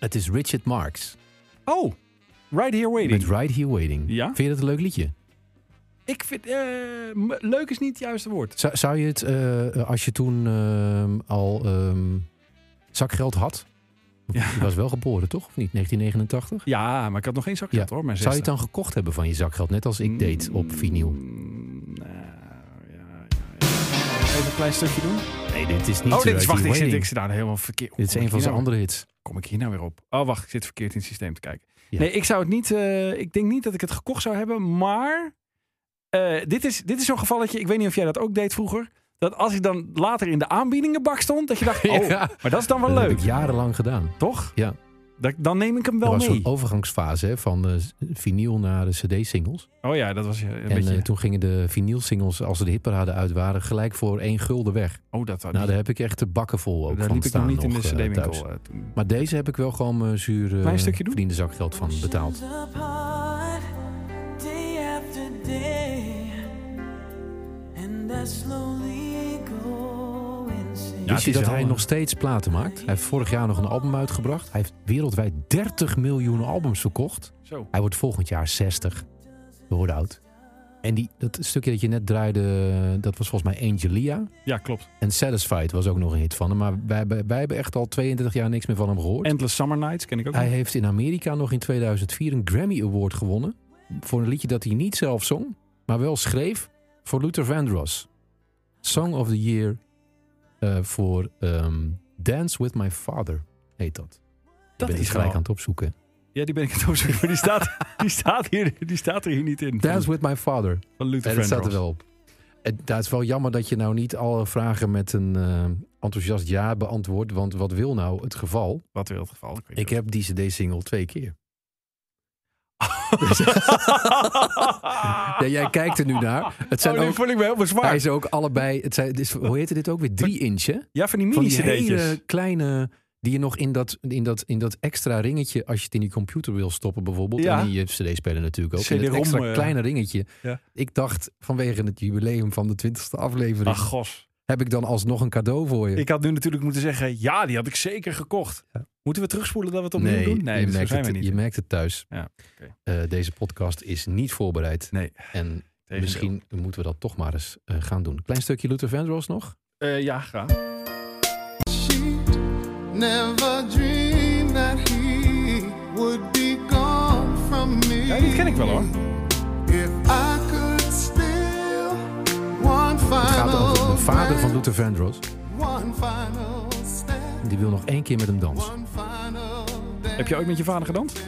S4: Het is Richard Marx
S3: Oh, Right Here Waiting.
S4: met Right Here Waiting.
S3: Ja?
S4: Vind je dat een leuk liedje?
S3: Ik vind, eh, m- leuk is niet het juiste woord.
S4: Zou, zou je het, eh, als je toen ehm, al ehm, zakgeld had...
S3: Ja.
S4: Je was wel geboren, toch? Of niet? 1989?
S3: Ja, maar ik had nog geen zakje hoor. Mijn
S4: Zou je het
S3: zesde.
S4: dan gekocht hebben van je zakgeld? Net als ik deed op vinyl.
S3: Mm, nou, ja, ja, ja. Even een klein stukje doen.
S4: Nee, dit is niet
S3: oh, dit
S4: Right
S3: is, wacht,
S4: Here
S3: ik zit,
S4: Waiting.
S3: ik zit daar helemaal verkeerd.
S4: Dit is
S3: Kom
S4: een
S3: ik
S4: van
S3: hier
S4: zijn
S3: nou weer-
S4: andere hits.
S3: Kom ik hier nou weer op? Oh, wacht, ik zit verkeerd in het systeem te kijken.
S4: Ja.
S3: Nee, ik zou het niet. eh, ik denk niet dat ik het gekocht zou hebben, maar. eh, dit is, dit is zo'n gevalletje. Ik weet niet of jij dat ook deed vroeger. Dat als ik dan later in de aanbiedingenbak stond, dat je
S4: [laughs]
S3: dacht: oh,
S4: Ja.
S3: maar dat is dan wel
S4: dat
S3: leuk.
S4: heb ik jarenlang gedaan.
S3: Toch?
S4: Ja.
S3: Dat, dan neem ik hem
S4: Er
S3: wel
S4: was
S3: mee.
S4: zo'n overgangsfase hè, van eh, vinyl naar de cd-singles.
S3: Oh ja, dat was eh, een
S4: En
S3: beetje.
S4: eh, toen gingen de vinyl-singles, als ze de hitparade uit waren, gelijk voor één gulden weg.
S3: oh, dat
S4: Nou, daar heb ik echt de bakken vol ook
S3: Daar
S4: van
S3: liep ik nog
S4: staan
S3: niet in de
S4: eh, thuis.
S3: CD-winkel. eh, toen.
S4: Maar deze heb ik wel gewoon mijn zuur eh,
S3: Klein stukje doen?
S4: verdiende zakgeld van betaald.
S7: apart day after day, and I slowly go insane.
S4: Wist je
S3: het is
S4: dat
S3: wel,
S4: hij
S3: eh,
S4: nog steeds platen maakt? Hij heeft vorig jaar nog een album uitgebracht. Hij heeft wereldwijd 30 miljoen albums verkocht.
S3: Zo.
S4: Hij wordt volgend jaar 60. We worden oud. En die, dat stukje dat je net draaide, dat was volgens mij Angelia.
S3: Ja, klopt.
S4: En Satisfied was ook nog een hit van hem. Maar wij, wij, wij hebben echt al 32 jaar niks meer van hem gehoord.
S3: Endless Summer Nights ken ik ook.
S4: hij
S3: nog.
S4: heeft in Amerika nog in 2004 een Grammy Award gewonnen. Voor een liedje dat hij niet zelf zong, maar wel schreef voor Luther Vandross. Song of the Year eh, voor ehm, Dance with My Father heet dat.
S3: Dat
S4: Dat ik ben
S3: is
S4: het gelijk
S3: wel-
S4: aan het opzoeken.
S3: Ja, die ben ik aan het opzoeken, maar [laughs] die staat, die, staat hier, die staat er hier niet in. Van,
S4: Dance with My Father.
S3: van Luther
S4: En dat staat er
S3: Vandross.
S4: wel op. En daar is wel jammer dat je nou niet alle vragen met een eh, enthousiast ja beantwoordt. Want wat wil nou het geval?
S3: Wat wil het geval? Ik, weet
S4: Ik
S3: niet
S4: heb die CD-single twee
S3: [laughs]
S4: keer.
S3: [laughs]
S4: Ja, jij kijkt er nu naar. Het zijn
S3: oh, nu
S4: ook,
S3: voel ik me helemaal
S4: hij
S3: zwaar.
S4: is ook allebei. Het zijn, het is- hoe heette dit ook weer? Drie inch, hè?
S3: Ja, van die
S4: Van
S3: mini
S4: die hele
S3: cd'tjes.
S4: kleine. Die je nog in dat, in, dat, in dat extra ringetje, als je het in die computer wil stoppen bijvoorbeeld.
S3: Ja.
S4: En eh, in je cd-speler natuurlijk ook. in dat
S3: CD-ROM,
S4: extra
S3: eh.
S4: kleine ringetje.
S3: Ja.
S4: Ik dacht, vanwege het jubileum van de twintigste aflevering,
S3: Ach, gos.
S4: heb ik dan alsnog een cadeau voor je.
S3: Ik had nu natuurlijk moeten zeggen, ja, die had ik zeker gekocht. Moeten we terugspoelen dat we het opnieuw doen?
S4: je,
S3: Nee, dat
S4: merkt
S3: zijn we
S4: het,
S3: niet.
S4: je merkt het thuis.
S3: Ja, oké.
S4: Eh, deze podcast is niet voorbereid.
S3: Nee,
S4: En
S3: tegendeel.
S4: Misschien moeten we dat toch maar eens eh, gaan doen. Klein stukje Luther Vandross nog.
S3: Eh, ja, graag.
S7: Never dreamed that he would be gone from me.
S3: Ja, dit ken ik wel hoor.
S7: If I could still one
S6: Ah.
S4: Het gaat
S7: final,
S4: over de vader van Luther Vandross.
S7: one final step,
S4: Die wil nog één keer met hem dansen.
S7: one final
S3: Heb je ooit met je vader gedanst?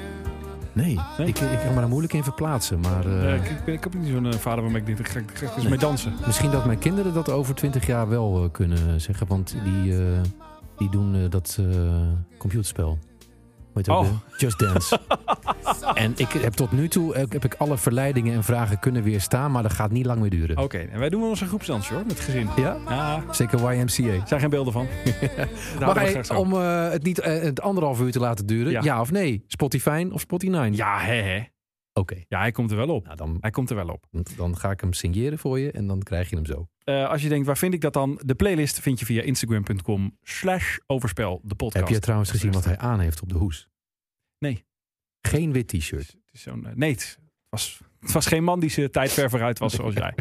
S4: Nee, Ik, ik kan me daar moeilijk in verplaatsen. Maar eh,
S3: Eh, ik, ik, ik heb niet zo'n eh, vader waarmee ik denk, ik ga, ik ga eens mee dansen.
S4: misschien dat mijn kinderen dat over twintig jaar wel eh, kunnen zeggen. Want die, eh, die doen eh, dat eh, computerspel. Weet ook
S3: Oh.
S4: weer?
S3: [laughs]
S4: Just Dance. en ik heb tot nu toe eh, heb ik alle verleidingen en vragen kunnen weerstaan. Maar dat gaat niet lang meer duren.
S3: Oké, en wij doen wel onze groepsdansje hoor, met het gezin.
S4: Ja?
S3: Ja, er
S4: Zeker YMCA.
S3: zijn geen beelden
S4: [laughs]
S3: van.
S4: Maar
S3: Daar
S4: hey, om eh, het niet eh, het anderhalf uur te laten duren, ja,
S3: Ja.
S4: of nee? Spotify of Spotify?
S3: Ja, hè, hè.
S4: Oké.
S3: Ja, hij komt er wel op.
S4: Nou, dan,
S3: Hij komt er wel op.
S4: dan ga ik hem signeren voor je en dan krijg je hem zo.
S3: Eh, als je denkt, waar vind ik dat dan? De playlist vind je via instagram.com slash overspel de podcast.
S4: Heb je trouwens gezien wat hij aan heeft op de hoes?
S3: Nee.
S4: Geen wit t-shirt.
S3: Het is zo'n, eh, nee, het was, het was geen man die zijn tijd ver vooruit was zoals
S4: [laughs]
S3: jij.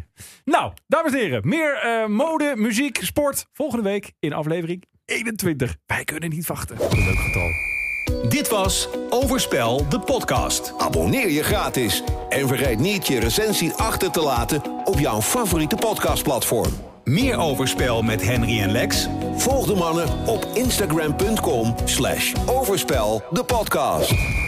S3: Nou, dames en heren. Meer eh, mode, muziek, sport. Volgende week in aflevering 21. Wij kunnen niet wachten.
S4: Leuk getal.
S1: Dit was Overspel, de podcast.
S2: Abonneer je gratis en vergeet niet je recensie achter te laten op jouw favoriete podcastplatform.
S1: Meer Overspel met Henry en Lex
S2: Volg de mannen op instagram.com slash overspel de podcast.